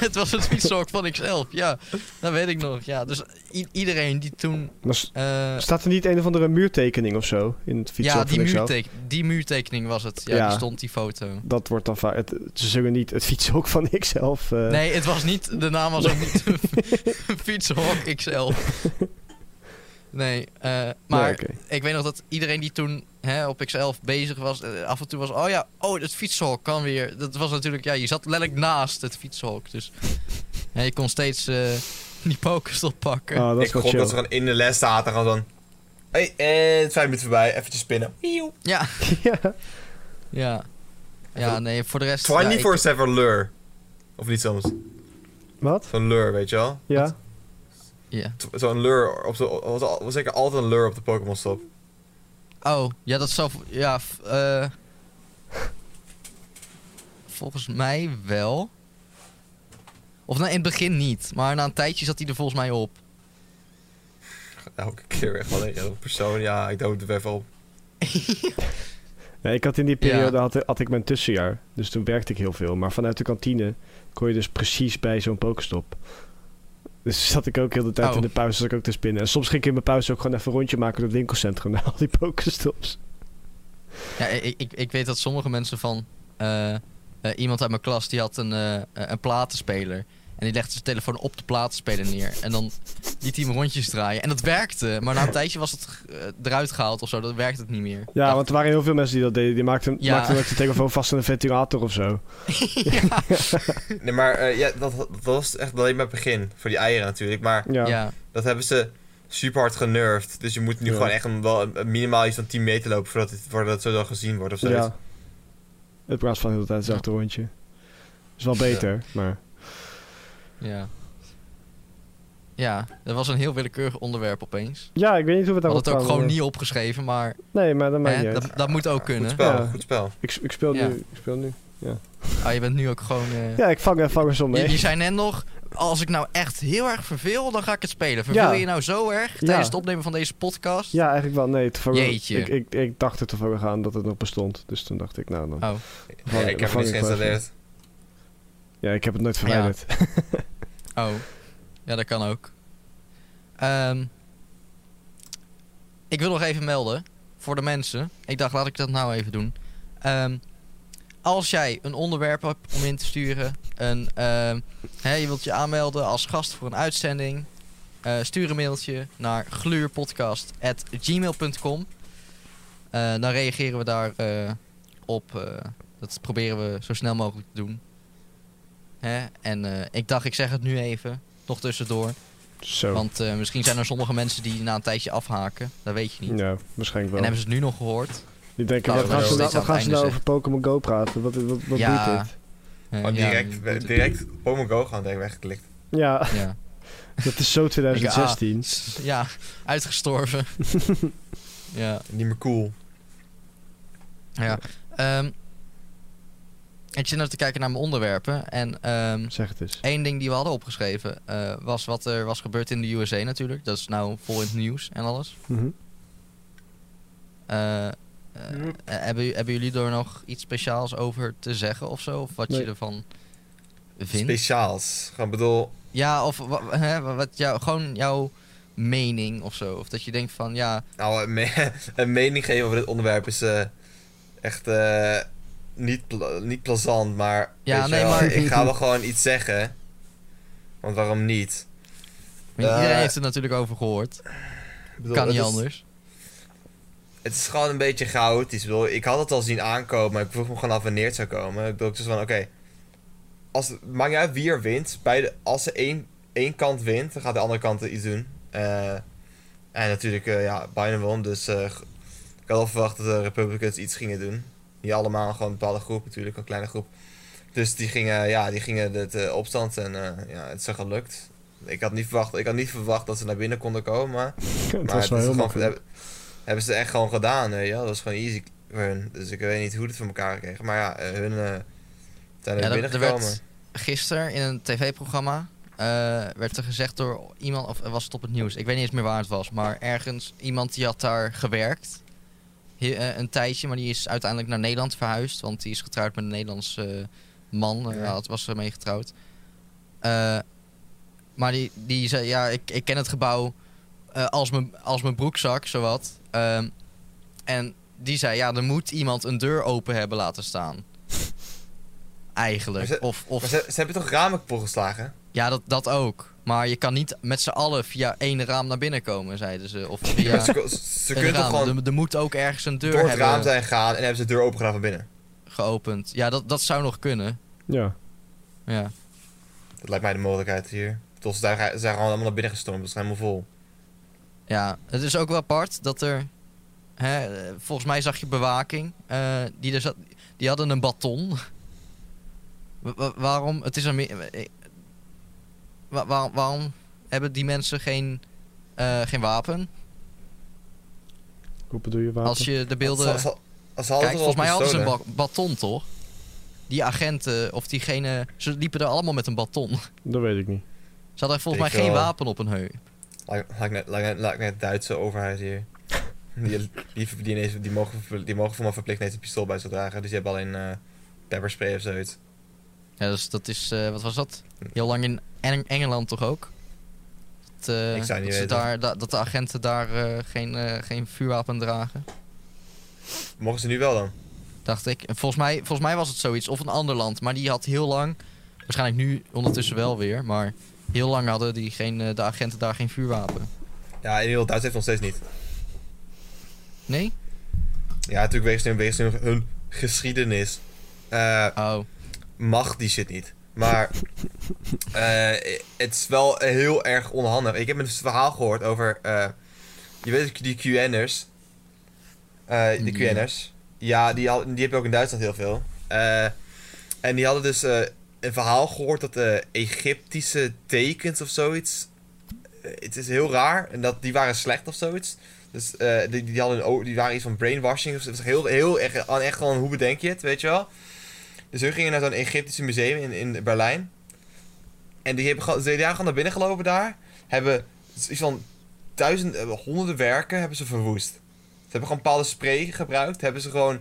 het was het fietshok van X11. Ja, dat weet ik nog. Ja, dus i- iedereen die toen. Maar s- eh, staat er niet een of andere muurtekening of zo in het fietsen ja, van die, ikzelf? muurtek die muurtekening was het. Ja, Ja. die stond die foto. Dat wordt dan vaak... het- Ze zullen niet het fietsen ook van ikzelf... eh Nee, het was niet. De naam was ook niet Fietsenhok XL. Nee, eh, maar nee, oké. ik weet nog dat iedereen die toen hè, op X11 bezig was, eh, af en toe was, oh ja, oh, het fietsenhok kan weer. Dat was natuurlijk, ja, je zat letterlijk naast het fietsenhok. Dus hè, je kon steeds eh, die pokers oppakken. Ah, dat Ik is wel gok chill. dat ze gewoon in de les zaten. Gewoon van, hey, eh, vijf minuten voorbij, eventjes spinnen. Ja, ja. ja. Ja, nee, voor de rest... ja, ik- 24-7 lure. Of niet soms. Wat? Zo'n lure, weet je wel? Ja? Ja. t- zo'n lure op de, was, al- was zeker altijd een lure op de Pokémon stop. Oh, ja, dat zou... Ja, v- eh, volgens mij wel. Of nou, in het begin niet. Maar na een tijdje zat hij er volgens mij op. Elke keer weer gewoon een random persoon. Ja, ik dood er even op. Ja, ik had in die periode had, had ik mijn tussenjaar. Dus toen werkte ik heel veel. Maar vanuit de kantine kon je dus precies bij zo'n pokestop. Dus zat ik ook heel de tijd Oh. in de pauze zat ik ook te spinnen. En soms ging ik in mijn pauze ook gewoon even een rondje maken door het winkelcentrum naar al die pokestops. Ja, ik, ik, ik weet dat sommige mensen van... eh, eh, iemand uit mijn klas, die had een, eh, eh, een platenspeler. En die legde zijn telefoon op de platenspeler neer. En dan liet hij hem rondjes draaien. En dat werkte. Maar na een tijdje was het eh, eruit gehaald of zo. Dat werkte het niet meer. Ja, Dat- want er waren heel veel mensen die dat deden. Die maakten, Ja. maakten ook de telefoon vast aan een ventilator of zo. Nee, maar eh, ja, dat, dat was echt alleen maar het begin. Voor die eieren natuurlijk. Maar Ja. ja. dat hebben ze super hard genurfd. Dus je moet nu Ja. gewoon echt een, wel een- een minimaal iets van 10 meter lopen voordat, het, voordat het zo dan gezien wordt of zo. Ja. In plaats van heel de tijd zo'n rondje. Is wel beter, maar... Ja. Ja, dat was een heel willekeurig onderwerp opeens. Ja, ik weet niet hoe we We daar hadden het ook gewoon niet opgeschreven, maar Nee, eh, maar dat maakt hè, niet uit. dat, dat moet ook Goed kunnen. spel, Ja. goed spel. Ik, ik speel Ja. nu. Ik speel nu. Ah, je bent nu ook gewoon... eh, Ja, ik vang, eh, vang er zo mee. je, je zei net nog, als ik nou echt heel erg verveel, dan ga ik het spelen. Verveel Ja. je nou zo erg Ja. tijdens het opnemen van deze podcast? Ja, eigenlijk wel. Nee, toevallig, Jeetje. Ik, ik, ik dacht er toevallig aan dat het nog bestond. Dus toen dacht ik, nou dan. Oh, Ja, ik heb vang het niet ik wel even. geïnstalleerd. Ja, ik heb het nooit verwijderd. oh. Ja, dat kan ook. Ehm, ik wil nog even melden voor de mensen. Ik dacht, laat ik dat nou even doen. Ehm, als jij een onderwerp hebt om in te sturen, een, ehm, hè, je wilt je aanmelden als gast voor een uitzending, eh, stuur een mailtje naar gluurpodcast.gmail.com. Eh, dan reageren we daar eh, op. eh, dat proberen we zo snel mogelijk te doen. Hè? En eh, ik dacht, ik zeg het nu even, nog tussendoor. Zo. Want eh, misschien zijn er sommige mensen die na een tijdje afhaken. Dat weet je niet. Ja, waarschijnlijk En wel. hebben ze het nu nog gehoord? Die denken, Nou, wat we hebben gaan ze nou, steeds wat aan gaan het ze einde nou over zeggen. Pokémon Go praten? Wat, wat, wat Ja. doet dit? Eh, ja, Maar Oh, direct, je moet het- direct Pokémon Go gaan, denk ik, weggeklikt. Ja, Ja. dat is zo 2016. ja, uitgestorven. ja, Niet meer cool. ja. Ehm, ik zit nou te kijken naar mijn onderwerpen. En ehm, Zeg het eens. één ding die we hadden opgeschreven eh, was wat er was gebeurd in de USA natuurlijk. Dat is nou vol in het nieuws en alles. Mhm. Eh, eh, eh, hebben, hebben jullie er nog iets speciaals over te zeggen of zo? Of wat Nee. je ervan vindt? Speciaals. Gewoon bedoel, ja, of wa- hè, wat jou, gewoon jouw mening of zo. Of dat je denkt van, ja, nou, een, me- een mening geven over dit onderwerp is eh, echt eh, niet, pla- niet plezant, maar, Ja, weet je nee, wel, maar- ik ga wel gewoon iets zeggen. Want waarom niet? want iedereen Eh. heeft er natuurlijk over gehoord. Ik bedoel, kan het niet is- anders. Het is gewoon een beetje chaotisch. Ik, bedoel, ik had het al zien aankomen, maar ik vroeg me gewoon af wanneer het zou komen. Ik bedoel, ik was van, oké, als maakt niet uit wie er wint. Beide, als er één, één kant wint, dan gaat de andere kant iets doen. Eh, en natuurlijk, eh, ja, Biden won, dus eh, g- ik had al verwacht dat de Republicans iets gingen doen. Niet allemaal, gewoon een bepaalde groep natuurlijk, een kleine groep. Dus die gingen, ja, die gingen het eh, opstand en eh, ja, het is er gelukt. Ik had, niet verwacht, ik had niet verwacht dat ze naar binnen konden komen, maar het maar het was wel is heel gewoon- makkelijk. hebben, hebben ze echt gewoon gedaan, weet je wel. Dat was gewoon easy voor hun. Dus ik weet niet hoe dit voor elkaar kregen. Maar ja, eh, hun eh, zijn Ja, er dat- er binnengekomen. werd gisteren in een tv-programma eh, werd er gezegd door iemand, of was het op het nieuws, ik weet niet eens meer waar het was, maar ergens iemand die had daar gewerkt. He- eh, een tijdje, maar die is uiteindelijk naar Nederland verhuisd, want die is getrouwd met een Nederlandse eh, man. Ja. eh, had was ermee getrouwd. Eh, maar die, die zei, ja, ik, ik ken het gebouw eh, als, mijn, als mijn broekzak, zowat. Ehm en die zei, ja, er moet iemand een deur open hebben laten staan. Eigenlijk. Maar ze- of, of Maar ze, ze hebben toch ramen kapot geslagen? ja, dat, dat ook. Maar je kan niet met z'n allen via één raam naar binnen komen, zeiden ze. Of Ja. via ze kon- ze- ze een kunnen toch raam. gewoon Er, er moet ook ergens een deur door het hebben raam zijn gegaan en hebben ze de deur opengedaan van binnen. geopend. Ja, dat, dat zou nog kunnen. Ja. Ja. Dat lijkt mij de mogelijkheid hier. Tot ze daar- ze zijn gewoon allemaal naar binnen gestormd. Dat is helemaal vol. ja, het is ook wel apart dat er... Hè, eh, volgens mij zag je bewaking. eh, die, er zat, die hadden een baton. eh, Wa- wa- waarom? Het is een... waarom, waarom hebben die mensen geen, eh, geen wapen. Hoe bedoel je wapen? Als je de beelden... Als, als, als ze hadden Kijk, wel volgens mij hadden ze een pistolen. ba- baton, toch? Die agenten, of diegene... Ze liepen er allemaal met een baton. Ze Dat weet ik niet. hadden volgens Ik mij geen wel. wapen op hun heup. Lijkt- lijkt net- lijkt net- lijkt net Duitse overheid hier. Die, die, die, ineens, die, mogen, verpl- die mogen voor mij verplicht ineens een pistool bij zich dragen. Dus die hebben alleen eh pepperspray of zoiets. Ja, dus dat is... eh, wat was dat? Heel lang in Eng- Engeland toch ook? Dat, eh, Ik zou niet dat, ze weten. daar, da- dat de agenten daar eh, geen, eh, geen vuurwapen dragen. Mogen ze nu wel dan? Dacht ik. En Volgens mij, volgens mij was het zoiets. Of een ander land. Maar die had heel lang... Waarschijnlijk nu ondertussen wel weer. Maar heel lang hadden die geen, eh, de agenten daar geen vuurwapen. Ja, in heel Duitsland heeft nog steeds niet. Nee? Ja, natuurlijk wegens hun, wegens hun, hun geschiedenis eh, Oh. mag die shit niet. Maar eh, het is wel heel erg onhandig. Ik heb een verhaal gehoord over, eh, je weet die QN'ers. Eh de Ja. QN'ers. Ja, die, had, die heb je ook in Duitsland heel veel. Eh, en die hadden dus eh, een verhaal gehoord dat de Egyptische tekens of zoiets... eh, het is heel raar. En dat die waren slecht of zoiets. Dus eh, die, die, hadden een, o- die waren iets van brainwashing. Of, zo. het was heel, heel erg, echt gewoon hoe bedenk je het, weet je wel. Dus hun gingen naar zo'n Egyptische museum in, in Berlijn. En die hebben gewoon- die zijn gewoon naar binnen gelopen daar. Hebben iets van duizend, eh, honderden werken hebben ze verwoest. Ze hebben gewoon bepaalde spray gebruikt. Hebben ze gewoon.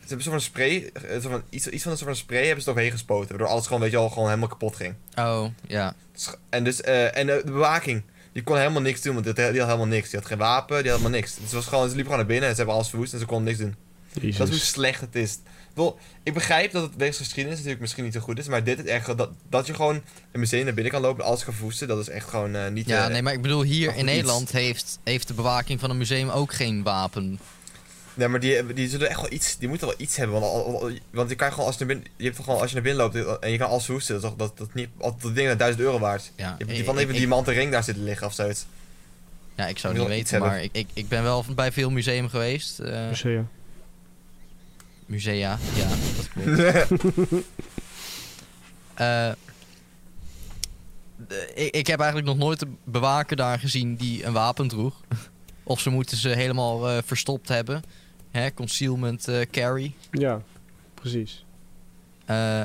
Ze hebben zo'n spray. eh, Zo van, iets, iets van een soort van spray hebben ze eroverheen gespoten. Waardoor alles gewoon, weet je wel, gewoon helemaal kapot ging. Oh, ja. Sch- En, dus, eh, en eh, de bewaking. Die kon helemaal niks doen, want die had, die had helemaal niks. Die had geen wapen, die had helemaal niks. Dus het was gewoon, ze liepen gewoon naar binnen en ze hebben alles verwoest en ze konden niks doen. Jezus. Dat is hoe slecht het is. Ik, bedoel, ik begrijp dat het wegens geschiedenis natuurlijk misschien niet zo goed is, maar dit is echt dat, dat je gewoon een museum naar binnen kan lopen en alles kan verwoesten, dat is echt gewoon eh, niet. Ja, eh, nee, maar ik bedoel, hier Of in iets. Nederland heeft, heeft de bewaking van een museum ook geen wapen. nee, maar die, die zullen echt wel iets, die moeten wel iets hebben, want, al- al- want je kan gewoon als je naar binnen, je hebt gewoon als je naar binnen loopt eh, en je kan alles verwoesten, dat is toch- dat, dat niet, dat ding dat 1000 euro waard. Ja, Je hebt ik- die van even ik- een diamanten ring daar zitten liggen of zoiets. Ja, ik zou Ik het niet wil iets weten, maar ik, ik, ik ben wel bij veel museum geweest. eh, Musea. musea, ja, dat klopt. Eh, de- ik, ik heb eigenlijk nog nooit een bewaker daar gezien die een wapen droeg. Of ze moeten ze helemaal eh, verstopt hebben. Hè, concealment eh, carry. Ja, precies. Eh,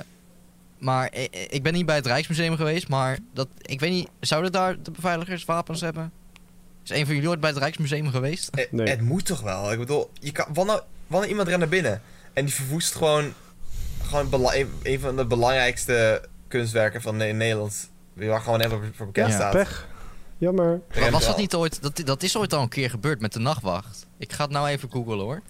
maar i- i- ik, ben niet bij het Rijksmuseum geweest, maar dat, ik weet niet, zouden daar de beveiligers wapens hebben? Is een van jullie ooit bij het Rijksmuseum geweest? Eh, Nee. Het moet toch wel? Ik bedoel, je kan, wanneer, wanneer iemand rent naar binnen en die verwoest gewoon, gewoon bela- een, een van de belangrijkste kunstwerken van Ne- Nederland. Waar gewoon even voor bekend Ja, staat. Pech. Jammer. Maar Rent was dat wel. niet ooit, dat, dat is ooit al een keer gebeurd met de nachtwacht. Ik ga het nou even googlen hoor.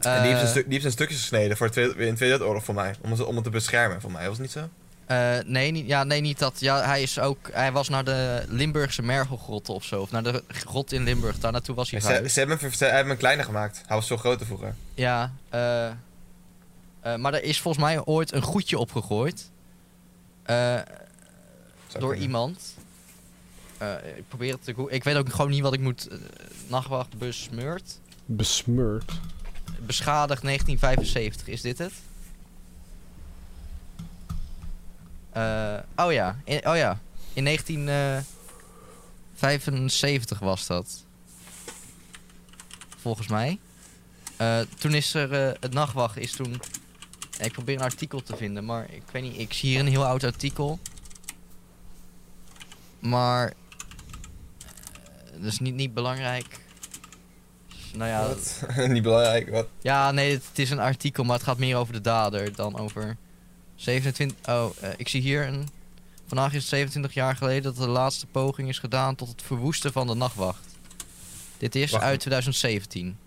En die Eh, heeft, zijn stuk, die heeft zijn stukjes gesneden voor de tweede, in de Tweede Wereldoorlog voor mij. Om, ze- om het te beschermen voor mij, was het niet zo? eh, nee, niet, ja, nee, niet dat. Ja, hij, is ook, hij was naar de Limburgse mergelgrotten of zo. Of naar de grot in Limburg. Daar naartoe was hij Ze, ze, gehuisd. hebben hem, ver- ze hebben hem kleiner gemaakt. Hij was zo groot vroeger. Ja, eh, eh, maar er is volgens mij ooit een goedje opgegooid. Eh, Zou door kunnen. iemand. Eh, ik probeer het te googlen. Ik weet ook gewoon niet wat ik moet. eh, nachtwacht besmeurd. Besmeurd. Beschadigd 1975, is dit het? Eh, oh ja, in, oh ja. In 1975 was dat. Volgens mij. Eh, toen is er eh, het nachtwacht is toen. Ik probeer een artikel te vinden, maar ik weet niet. Ik zie hier een heel oud artikel. Maar. eh, dat is niet, niet belangrijk. Nou ja, dat, Wat? niet belangrijk, wat? ja, nee, het, het is een artikel, maar het gaat meer over de dader dan over 27. Oh, eh, ik zie hier een. Vandaag is het 27 jaar geleden dat de laatste poging is gedaan tot het verwoesten van de nachtwacht. Dit is Wacht. uit 2017.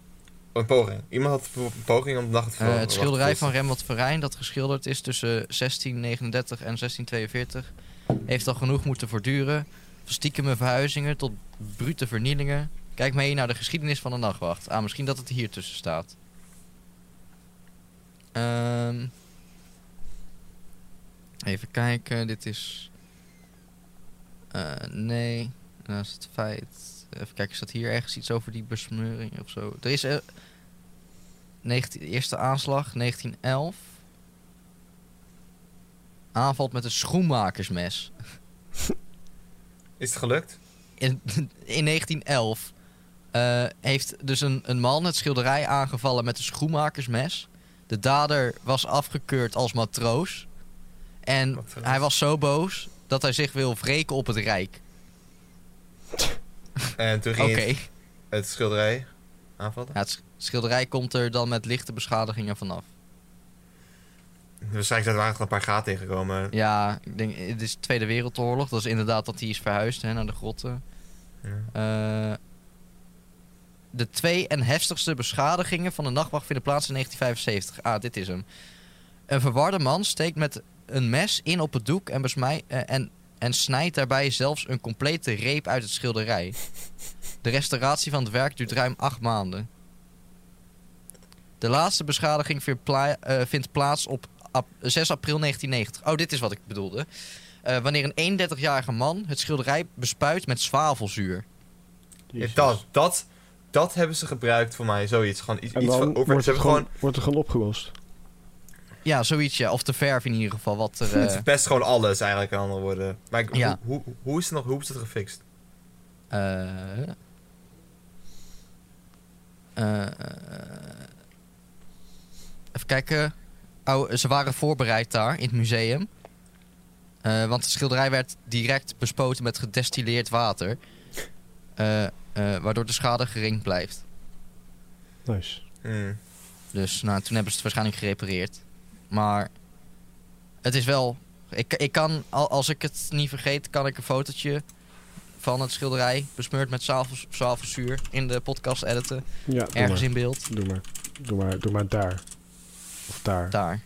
Een poging. Iemand had pro- een poging om de nacht te Eh, veranderen. het schilderij van Rembrandt Verijn, dat geschilderd is tussen 1639 en 1642, heeft al genoeg moeten voortduren. Van stiekeme verhuizingen tot brute vernielingen. Kijk mee naar de geschiedenis van de nachtwacht. Ah, misschien dat het hier tussen staat. Ehm, even kijken, dit is. eh, nee, dat is het feit. Even kijken, staat hier ergens iets over die besmeuring of zo? Er is eh, 19, eerste aanslag, 1911. Aanval met een schoenmakersmes. Is het gelukt? In, in 1911 eh, heeft dus een, een man het schilderij aangevallen met een schoenmakersmes. De dader was afgekeurd als matroos. En Matroos. hij was zo boos dat hij zich wil wreken op het Rijk. En toen Oké, ging het, het schilderij aanvallen. ja, het sch- schilderij komt er dan met lichte beschadigingen vanaf. Waarschijnlijk zijn er eigenlijk een paar gaten ingekomen. Ja, ik denk, het is Tweede Wereldoorlog. Dat is inderdaad dat hij is verhuisd hè, naar de grotten. Ja. Eh, de twee en heftigste beschadigingen van de nachtwacht vinden plaats in 1975. Ah, dit is hem. Een verwarde man steekt met een mes in op het doek en, besmij- eh, en, en snijdt daarbij zelfs een complete reep uit het schilderij. De restauratie van het werk duurt ruim acht maanden. De laatste beschadiging vindt, pla- eh, vindt plaats op ap- 6 april 1990. Oh, dit is wat ik bedoelde. Eh, wanneer een 31-jarige man het schilderij bespuit met zwavelzuur. Ja, dat, dat, dat hebben ze gebruikt voor mij, zoiets. Gewoon iets, En iets dan van over. wordt, Ze het hebben gewoon, gewoon, wordt het gewoon opgelost. Ja, zoiets, ja. Of de verf in ieder geval. Wat er, het eh, verpest gewoon alles eigenlijk, in andere woorden. Maar ik- Ja. hoe, hoe, hoe is het nog, hoe is het gefixt? eh, eh, even kijken. Oh, ze waren voorbereid daar in het museum. Eh, want het schilderij werd direct bespoten met gedestilleerd water. Eh, eh, waardoor de schade gering blijft. Nice. Hmm. Dus nou, toen hebben ze het waarschijnlijk gerepareerd. Maar het is wel. Ik, ik kan, al- als ik het niet vergeet, kan ik een fotootje van het schilderij besmeurd met zwavel- zwavelzuur in de podcast editen. Ja, doe Ergens maar. in beeld. Doe maar. Doe maar, doe maar daar. Of daar. Daar.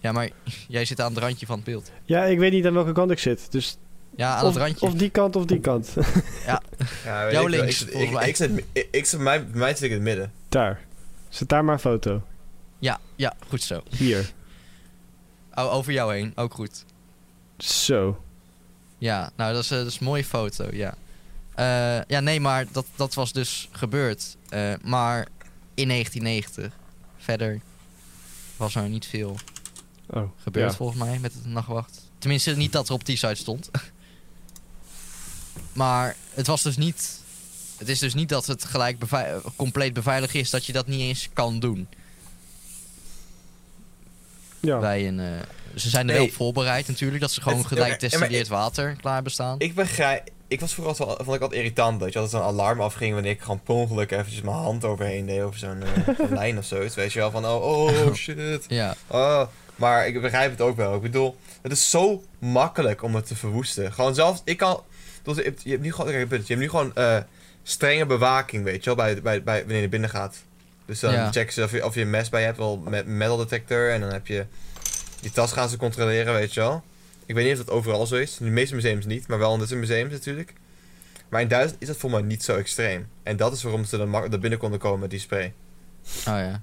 Ja, maar jij zit aan het randje van het beeld. Ja, ik weet niet aan welke kant ik zit. Dus Ja, aan of, het randje. of die kant of die kant. Ja, weet Jouw ik wel. links, Ik, zit- volgens ik, mij. ik, zit- ik, ik zit, mij, bij mij zit ik in het midden. daar. Zet daar maar een foto. Ja, ja, goed zo. Hier. O, over jou heen, ook goed. Zo. Ja, nou, dat is, eh, dat is een mooie foto, ja. Eh, ja, nee, maar dat, dat was dus gebeurd. Eh, maar in 1990. Verder was er niet veel Oh, gebeurd ja. volgens mij met de nachtwacht. Tenminste, niet dat er op die site stond. maar het was dus niet. Het is dus niet dat het gelijk bevei- eh, compleet beveiligd is dat je dat niet eens kan doen. Ja. Bij een, eh, ze zijn er Nee. wel op voorbereid natuurlijk, dat ze gewoon Het- gelijk ja, maar- ja, maar destilleerd water klaar bestaan. Ik begrijp... Ik was vroeger altijd, wel- vond ik altijd irritant, dat je altijd zo'n alarm afging wanneer ik gewoon per ongeluk eventjes mijn hand overheen deed over zo'n eh, zo'n lijn of zoiets. Weet je wel, van oh, oh shit. Ja, Oh, maar ik begrijp het ook wel. Ik bedoel, het is zo makkelijk om het te verwoesten. Gewoon zelfs, ik kan... dus je hebt- je hebt nu gewoon, kijk, het punt, je hebt nu gewoon eh, strenge bewaking, weet je wel, bij, bij, bij, wanneer je binnen gaat. Dus dan Ja. checken ze of je, of je een mes bij je hebt, wel met metal detector. En dan heb je... Die tas gaan ze controleren, weet je wel. Ik weet niet of dat overal zo is. In de meeste museums niet, maar wel in dit soort museums natuurlijk. Maar in Duitsland is dat voor mij niet zo extreem. En dat is waarom ze er mak- er binnen konden komen met die spray. oh ja.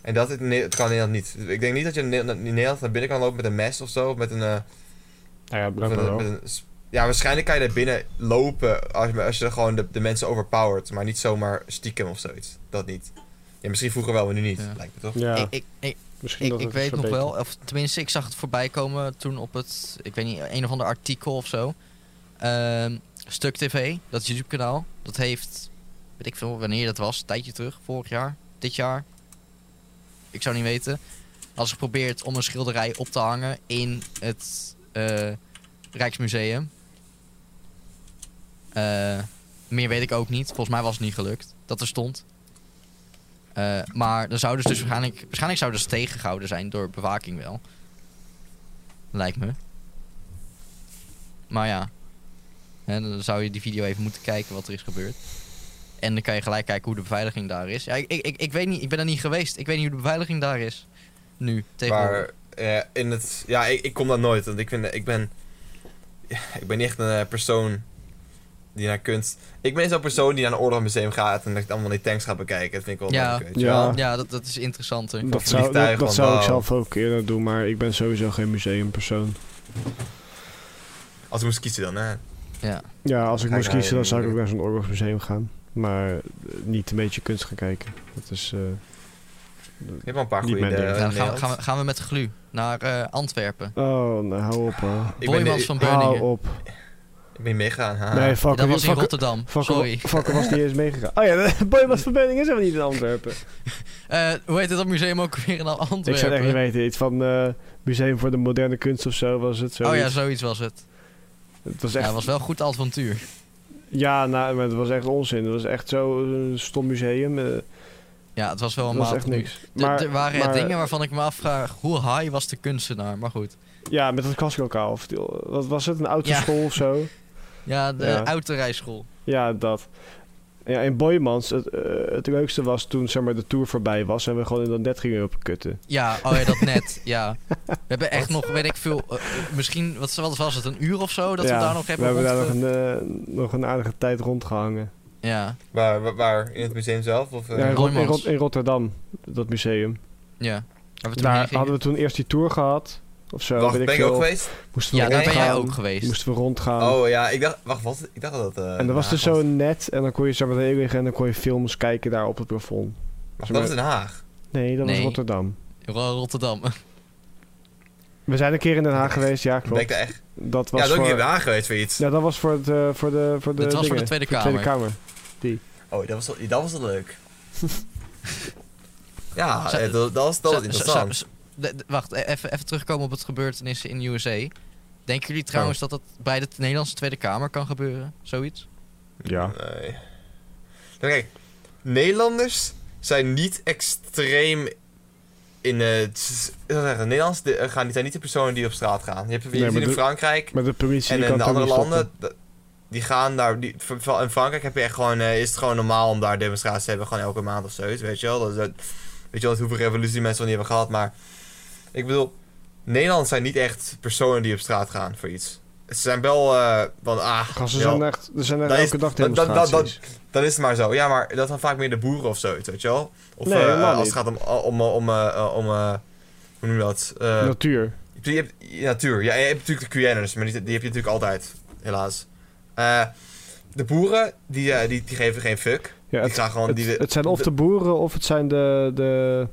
En dat, het, het kan in Nederland niet. Ik denk niet dat je in Ne- in Nederland naar binnen kan lopen met een mes of zo. Of met een, eh, Nou ja, of blijkbaar met een, wel. met een s- ja, waarschijnlijk kan je daar binnen lopen als, je- als je er gewoon de, de mensen overpowert. Maar niet zomaar stiekem of zoiets. Dat niet. Ja, misschien vroeger wel, maar nu niet. Ja. Lijkt me toch? Ja, Ik, ik, ik, misschien ik, dat ik het weet nog verbetert. wel, of tenminste, ik zag het voorbij komen toen op het, ik weet niet, een of ander artikel of zo. Ehm, Stuk TV, dat YouTube-kanaal, dat heeft, weet ik veel wanneer dat was, een tijdje terug, vorig jaar, dit jaar. Ik zou niet weten. Als geprobeerd om een schilderij op te hangen in het eh, Rijksmuseum. Eh, meer weet ik ook niet. Volgens mij was het niet gelukt dat er stond. Eh, maar dan zouden ze dus waarschijnlijk, waarschijnlijk zouden ze tegengehouden zijn door bewaking wel. Lijkt me. Maar ja. Hè, dan zou je die video even moeten kijken wat er is gebeurd. En dan kan je gelijk kijken hoe de beveiliging daar is. Ja, ik, ik, ik, ik weet niet, ik ben er niet geweest. Ik weet niet hoe de beveiliging daar is. Nu, tegenwoordig. Maar eh, in het, ja, ik, ik kom daar nooit. Want ik, vind, ik ben. ja, ik ben niet echt een eh, persoon die naar kunst. Ik ben zo'n persoon die naar een oorlogsmuseum gaat en dat allemaal die tanks gaat bekijken. Dat vind ik wel Ja. leuk, weet je Ja. wel. Ja, dat, dat is interessanter. Dat Of zou, dat, vliegtuigen, dat zou ik wauw. zelf ook eerder doen, maar ik ben sowieso geen museumpersoon. Als ik moest kiezen dan, hè. Ja. Ja, als ik Ga je moest kiezen, naar dan een- zou ik ook naar zo'n oorlogsmuseum gaan. Maar eh, niet een beetje kunst gaan kijken. Dat is... eh, Je hebt wel een paar Niet goede mijn ideeën. ding. in Ja, dan gaan we, Nederland. gaan, we, gaan we met glu naar eh, Antwerpen. Oh, nou, hou op, hoor. Ik ben- Boymans van Hou Beuningen. op. Ik ben meegegaan. haha. Nee, Dat Fakker was in Fakker- Rotterdam. Fakker- Sorry. Fakker was niet eens meegegaan. Oh ja, Boy was verbinding is helemaal niet in Antwerpen. Eh, hoe heet dat museum ook weer in Antwerpen? Ik zou het echt niet weten. Iets van eh, Museum voor de Moderne Kunst of zo was het. Zo. Oh ja, zoiets was het. het was Ja, echt, het was wel een goed avontuur. ja nou, maar het was echt onzin. Het was echt zo'n stom museum. eh, Ja, het was wel een het was maat. echt niks. Er- er waren maar- dingen waarvan ik me afvraag, hoe high was de kunstenaar? Maar goed. Ja, met dat klaslokaal. Of, die- wat was het? Een autoschool of zo? Ja, de Ja. oude rijschool. Ja, dat. Ja, in Boymans, het, eh, het leukste was toen zeg maar, de tour voorbij was en we gewoon in dat net gingen op kutten. Ja, oh ja, dat net. ja. We hebben echt nog, weet ik veel, eh, misschien, wat wat was het, een uur of zo? Dat Ja, we daar nog hebben We hebben daar rondge- nog een, eh, nog een aardige tijd rondgehangen. Ja, Waar, waar, waar? In het museum zelf? Of, eh, Ja, in, Rot- in Boymans. Rot- in Rotterdam, dat museum. ja. Waar we toen heen Daar gingen. hadden we toen eerst die tour gehad. Of zo, wacht, weet ik ben ik ook veel. geweest? Moesten we Ja, daar ben jij rondgaan. ook geweest. Moesten we rondgaan. Oh ja, ik dacht, wacht, wat? Ik dacht dat dat. eh, en er was Den dus Haag zo'n net en dan kon je zo meteen liggen en dan kon je films kijken daar op het plafond. was. Dat was Den Haag. Nee, dat Nee. was Rotterdam. Ro- Rotterdam. We zijn een keer in Den Haag geweest, ja Ben ik klopt. daar echt? Dat Ja, was dat ook niet in voor... Den Haag geweest voor iets. Ja, dat was voor, het, eh, voor de voor de Dat was voor de dingen. Tweede Kamer. Tweede Kamer. Oh, dat was, wel- dat was wel leuk. ja, Zou- eh, dat, dat was, dat Zou- was zou- interessant. zou- de- de- Wacht, e- even, even terugkomen op het gebeurtenissen in de USA. Denken jullie trouwens dat dat bij de Nederlandse Tweede Kamer kan gebeuren? Zoiets? Ja. Nee. Nou, kijk, Nederlanders zijn niet extreem in het. ik zou zeggen, Nederlanders de- eh, gaan, die zijn niet de personen die op straat gaan. Je hebt je Nee, ziet maar in de- Frankrijk Maar de politie en die kan in de het ook andere niet stoppen. landen. d- Die gaan daar. Die, v- v- in Frankrijk heb je echt gewoon, eh, is het gewoon normaal om daar demonstraties te hebben. Gewoon elke maand of zoiets. Weet je wel. Dat, dat- weet je wel hoeveel revolutie mensen wel niet hebben gehad. Maar ik bedoel, Nederlanders zijn niet echt personen die op straat gaan voor iets. Ze zijn wel eh, van ah, Gasten joh. zijn echt, er zijn echt Dat is- elke dag dat- dat- dat- demonstraties. dat- Dan is het maar zo. Ja, maar dat zijn vaak meer de boeren of zoiets, weet je wel? Of Nee, eh, helemaal als niet. het gaat om... om, om, om, eh, eh, om eh, hoe noem je dat? Eh, Natuur. je hebt, ja, natuur. Ja, je hebt natuurlijk de QN'ers, maar die, die heb je natuurlijk altijd. Helaas. Eh, de boeren, die, eh, die, die geven geen fuck. Ja, die het, gaan gewoon... het, die, de, het zijn of de, boeren of het zijn de... de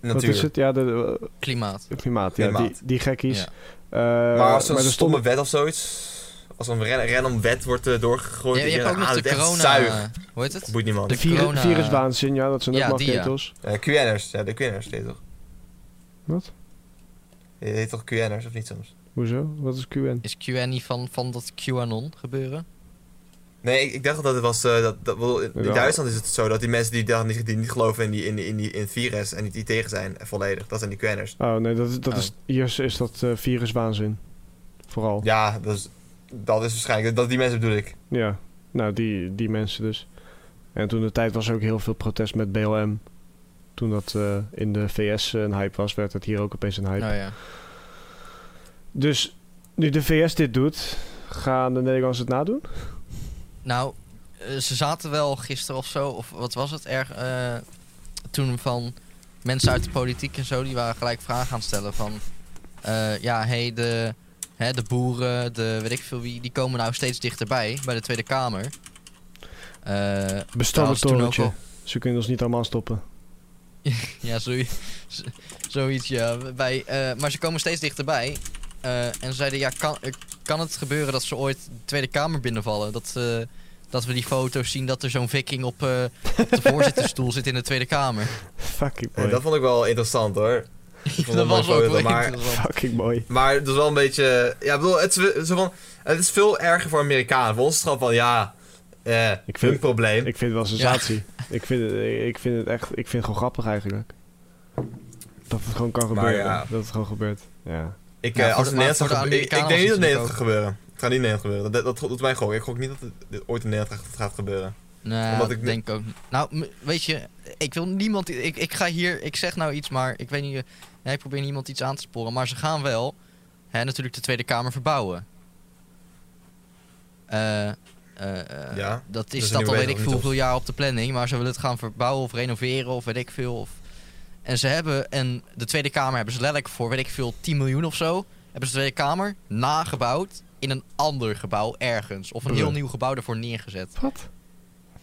de wat natuur. is het? Ja, de eh, Klimaat. klimaat. Ja, Klimaat. Die, die gekkies. Ja. Eh, maar als er een stomme er stonden- wet of zoiets... Als een ren- random wet wordt eh, doorgegooid... Ja, je die hebt ook nog ah, de dat is echt corona... Zuig. Hoe heet het? Boeit niemand. de de vir- corona- viruswaanzin, ja, dat zijn ook Ja, die, ja. magnetels. Eh QN'ers. Ja, de QN'ers heet toch? Wat? Je heet toch QN'ers, of niet soms? Hoezo? Wat is QN? Is QN niet van, van dat QAnon gebeuren? Nee, ik, ik dacht dat het was. eh, dat, dat, wel, in Ja. Duitsland is het zo dat die mensen die, daar niet, die niet geloven in, die, in, die, in, die, in het virus en die, die tegen zijn, eh, volledig. Dat zijn die kwenners. Oh nee, dat, is- dat Oh. is, hier is, is dat eh, viruswaanzin. Vooral. Ja. Ja, dat is, dat is waarschijnlijk. Dat die mensen bedoel ik. Nou, die, die mensen dus. En toen de tijd was er ook heel veel protest met BLM. Toen dat eh, in de VS een hype was, werd het hier ook opeens een hype. Nou ja. Dus nu de VS dit doet, gaan de Nederlanders het nadoen? Nou, eh, ze zaten wel gisteren of zo, of wat was het, erg eh, toen van mensen uit de politiek en zo, die waren gelijk vragen aan het stellen van, eh, ja, hey, de, hè, de boeren, de weet ik veel wie, die komen nou steeds dichterbij bij de Tweede Kamer. Eh Bestel het was toen ook torentje. al- Ze kunnen ons niet allemaal stoppen. ja, zoiets, z- zoiets ja. Bij, eh, maar ze komen steeds dichterbij. Eh, en ze zeiden, ja, kan, eh, kan het gebeuren dat ze ooit de Tweede Kamer binnenvallen? Dat, eh, dat we die foto's zien dat er zo'n viking op, eh, op de voorzittersstoel zit in de Tweede Kamer. Fucking En mooi. dat vond ik wel interessant hoor. vond dat het was mooi ook wel foto, maar- interessant. Fucking mooi. Maar dat is wel een beetje. Ja, ik bedoel, het is, we- zo van, het is veel erger voor Amerikanen. Voor ons is het gewoon van ja. eh vind- hun probleem. Ik vind het wel een sensatie. Ik, vind het, ik vind het echt, ik vind het gewoon grappig eigenlijk. Dat het gewoon kan Maar gebeuren. ja. Dat het gewoon gebeurt. Ja. Ik, Ja, eh, voor als de- het maar Nederlands voor de gaat gebeuren- ik, ik Amerikanen denk was niet dat het het Nederland gaat gebeuren. Het gaat niet in Nederland gebeuren. Dat, dat, dat doet mij gok. Ik gok niet dat het dit ooit in Nederland gaat, gaat gebeuren. Nou, Omdat dat ik- denk ik ook niet. Nou, m- weet je, ik wil niemand... Ik, ik ga hier... Ik zeg nou iets, maar ik weet niet... eh, ja, ik probeer niemand iets aan te sporen. Maar ze gaan wel hè, natuurlijk de Tweede Kamer verbouwen. Eh, eh, eh, Ja, Dat dus is nu dat weet al weet ik nog ik niet veel of- hoeveel jaar op de planning. Maar ze willen het gaan verbouwen of renoveren of weet ik veel. Of... En ze hebben... En de Tweede Kamer hebben ze letterlijk voor weet ik veel 10 miljoen of zo... Hebben ze de Tweede Kamer nagebouwd in een ander gebouw ergens. Of een heel Bruh. nieuw gebouw ervoor neergezet. Wat?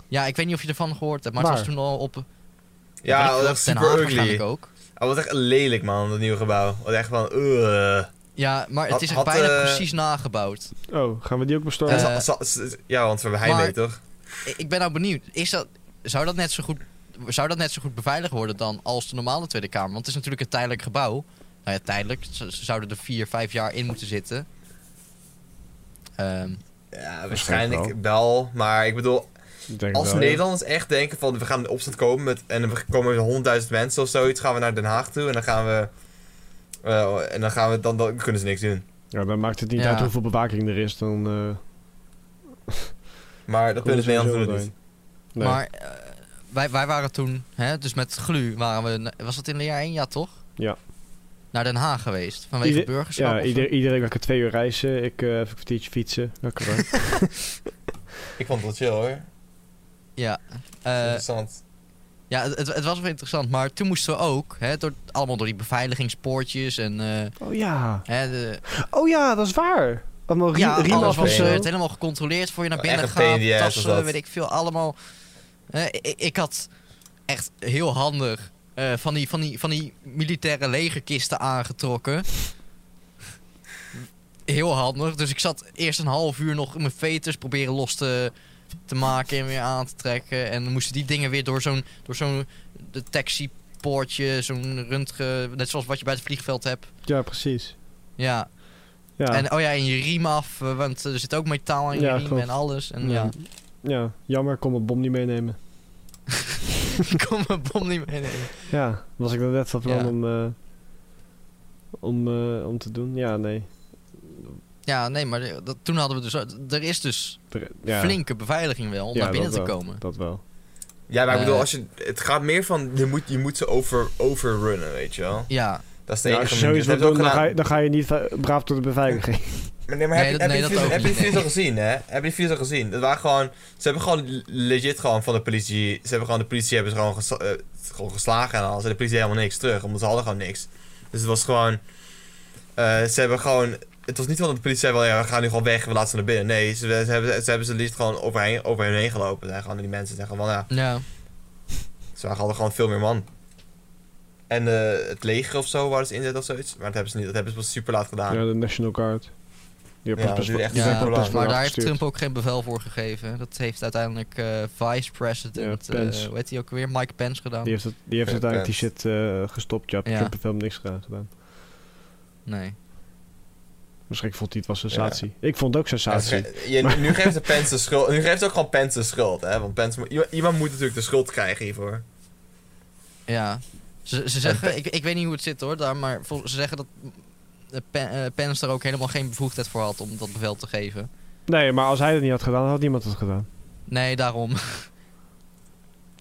Ja, ik weet niet of je ervan gehoord hebt, maar het Waar? was toen al op. Ja, weet ik dat veel, is Den super Haag ugly. waarschijnlijk ook. Oh, wat echt lelijk man, dat nieuwe gebouw. Wat echt van, eh. Ja, maar het Had- is echt had, bijna eh, precies nagebenauwd. Oh, gaan we die ook bestormen? Eh, Zal- zal- z- ja, want hij maar- weet toch? I- Ik ben nou benieuwd, is dat, zou, dat net zo goed, zou dat net zo goed beveiligd worden dan als de normale Tweede Kamer? Want het is natuurlijk een tijdelijk gebouw. Nou ja, tijdelijk. Ze, ze zouden er vier, vijf jaar in moeten zitten. Ehm, Ja, Waarschijnlijk waarschijnlijk wel. Maar ik bedoel, Ik denk als wel, ja. Nederlanders echt denken van we gaan in opstand komen met, en er komen honderdduizend mensen of zoiets, gaan we naar Den Haag toe en dan gaan we. eh, en dan, gaan we, dan, dan kunnen ze niks doen. Ja, dan maakt het niet Ja. uit hoeveel bewaking er is. Dan, eh Maar dat komen kunnen ze het Nederland sowieso doen doorheen. niet. Nee. Maar eh, wij, wij waren toen, hè, dus met Glu waren we, was dat in het jaar 1 jaar toch? Ja. Naar Den Haag geweest, vanwege Ieder- burgerschap. ja, of zo? ieder, iedereen lekker twee uur reizen. Ik eh even een kwartiertje fietsen. Lekker hoor. Ik vond het wel chill hoor. Ja, eh, Interessant. ja het, het was wel interessant, maar toen moesten we ook, hè, door, allemaal door die beveiligingspoortjes en eh, Oh ja. hè, de, Oh ja, dat is waar. Allemaal rie- ja, riem alles af en was zo. eh, het helemaal gecontroleerd voor je naar Eh, Echt binnen een pain in gaat. the ass was Tassen, dat. weet ik veel, allemaal. Eh, ik, ik had echt heel handig eh, van, die, van, die, van die militaire legerkisten aangetrokken. Heel handig. Dus ik zat eerst een half uur nog mijn veters proberen los te, te maken en weer aan te trekken. En dan moesten die dingen weer door zo'n door zo'n detectiepoortje, zo'n röntgen... Net zoals wat je bij het vliegveld hebt. Ja, precies. Ja, Ja. en oh ja, en je riem af, eh, want er zit ook metaal in je Ja, riem klopt. en alles. En Ja. ja, ja, jammer, ik kon mijn bom niet meenemen. ik kon mijn bom niet meenemen. Ja, was ik dan net van plan Ja. om, eh, om, eh, om te doen? Ja, nee. Ja, nee, maar de- dat, toen hadden we dus... Er is dus Er- ja, flinke beveiliging wel om Ja, naar binnen dat te wel. komen. Dat wel. Ja, maar ik eh, bedoel, als je, het gaat meer van je moet, je moet ze over, overrunnen, weet je wel. Ja, Dat is de Ja, als enige je manier. Dat zoiets wilt hebben doen, we dan dus ook ga, gedaan. je, dan ga je niet eh, braaf door de beveiliging. Maar nee, maar heb, Nee, je- dat- nee, heb, dat je, ook die- heb je die niet, video's nee. al gezien, hè? Heb je die video's al gezien? Dat waren gewoon, ze hebben gewoon legit gewoon van de politie, ze hebben gewoon de politie hebben ze gewoon, gesla- eh, gewoon geslagen en alles. En de politie deed helemaal niks terug, omdat ze hadden gewoon niks. Dus het was gewoon, eh, ze hebben gewoon, het was niet van dat de politie zei wel, ja, we gaan nu gewoon weg, we laten ze naar binnen. Nee, ze, ze hebben, ze hebben ze liefst gewoon overheen, over hen heen gelopen. Zijn gewoon die mensen zeggen van, ja, ja. ze hadden gewoon veel meer man. En eh, het leger of zo, waar ze inzet of zoiets. Maar dat hebben ze niet, dat hebben ze pas super laat gedaan. Ja, de National Guard. Die hebben Ja, pas dat duurt best echt die Ja, dus zijn pas super best lang. wel Maar daar heeft afgestuurd. Trump ook geen bevel voor gegeven. Dat heeft uiteindelijk eh, vice-president, Ja, Pence. eh, hoe heet hij ook weer, Mike Pence gedaan. Die heeft, het, die heeft Ja, uiteindelijk die shit eh, gestopt. Ja, Ja. Trump heeft helemaal niks gedaan- gedaan. Nee. Misschien vond hij het was Ja. sensatie. Ik vond het ook sensatie. Ja, je- nu geeft de Pence de schuld. Nu geeft ook gewoon Pence de schuld, hè? Want Pence, moet- iemand- iemand moet natuurlijk de schuld krijgen hiervoor. Ja. Ze, ze zeggen, ik, ik weet niet hoe het zit hoor, daar, maar vol- ze zeggen dat eh, Pen- eh, Pence er ook helemaal geen bevoegdheid voor had om dat bevel te geven. Nee, maar als hij het niet had gedaan, had niemand het gedaan. Nee, daarom.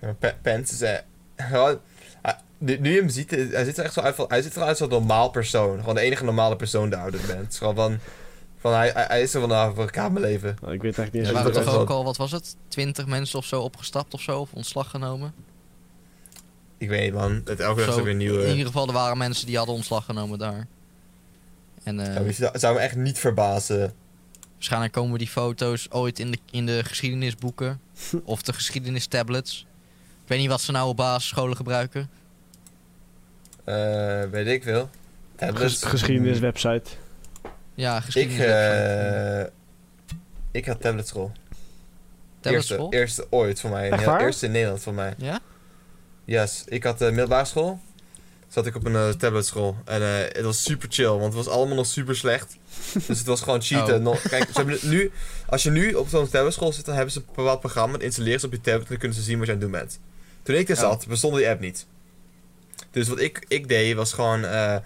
Ja, Pe- Pence is eh, gewoon- hij- Nu, nu je hem ziet, eh, hij ziet er echt zo uit, van- hij ziet eruit als een normaal persoon. Gewoon de enige normale persoon die ouder bent. Het is Gewoon van, van hij, hij, hij is er vanaf voor kamerleven. Nou, ik weet Er eigenlijk niet eens Ja, hoe waren dat het toch is ook wel- al, wat was het? Twintig mensen of zo opgestapt of zo, of ontslag genomen. Ik weet niet, man. Het, elke dag is Zo, er weer een in nieuwe. ieder geval, er waren mensen die hadden ontslag genomen daar. En eh, Ja, maar het zou me echt niet verbazen. waarschijnlijk komen die foto's ooit in de, in de geschiedenisboeken. of de geschiedenistablets. Ik weet niet wat ze nou op basisscholen gebruiken. Eh, weet ik veel. Tablets. Ges- geschiedeniswebsite. Ja, Ik, geschiedenis. eh ik had tabletschool. Eerste, school? eerste ooit voor mij. Echt Ja, waar? Eerste in Nederland voor mij. Ja? Yes, ik had eh, middelbare school. Zat ik op een eh, tabletschool. En eh, het was super chill, want het was allemaal nog super slecht. dus het was gewoon cheaten. Oh. Nog- kijk, ze hebben het nu, als je nu op zo'n tabletschool zit, dan hebben ze een bepaald programma. Dat installeren ze op je tablet en dan kunnen ze zien wat je aan het doen bent. Toen ik daar Oh. zat, bestond die app niet. Dus wat ik, ik deed was gewoon eh,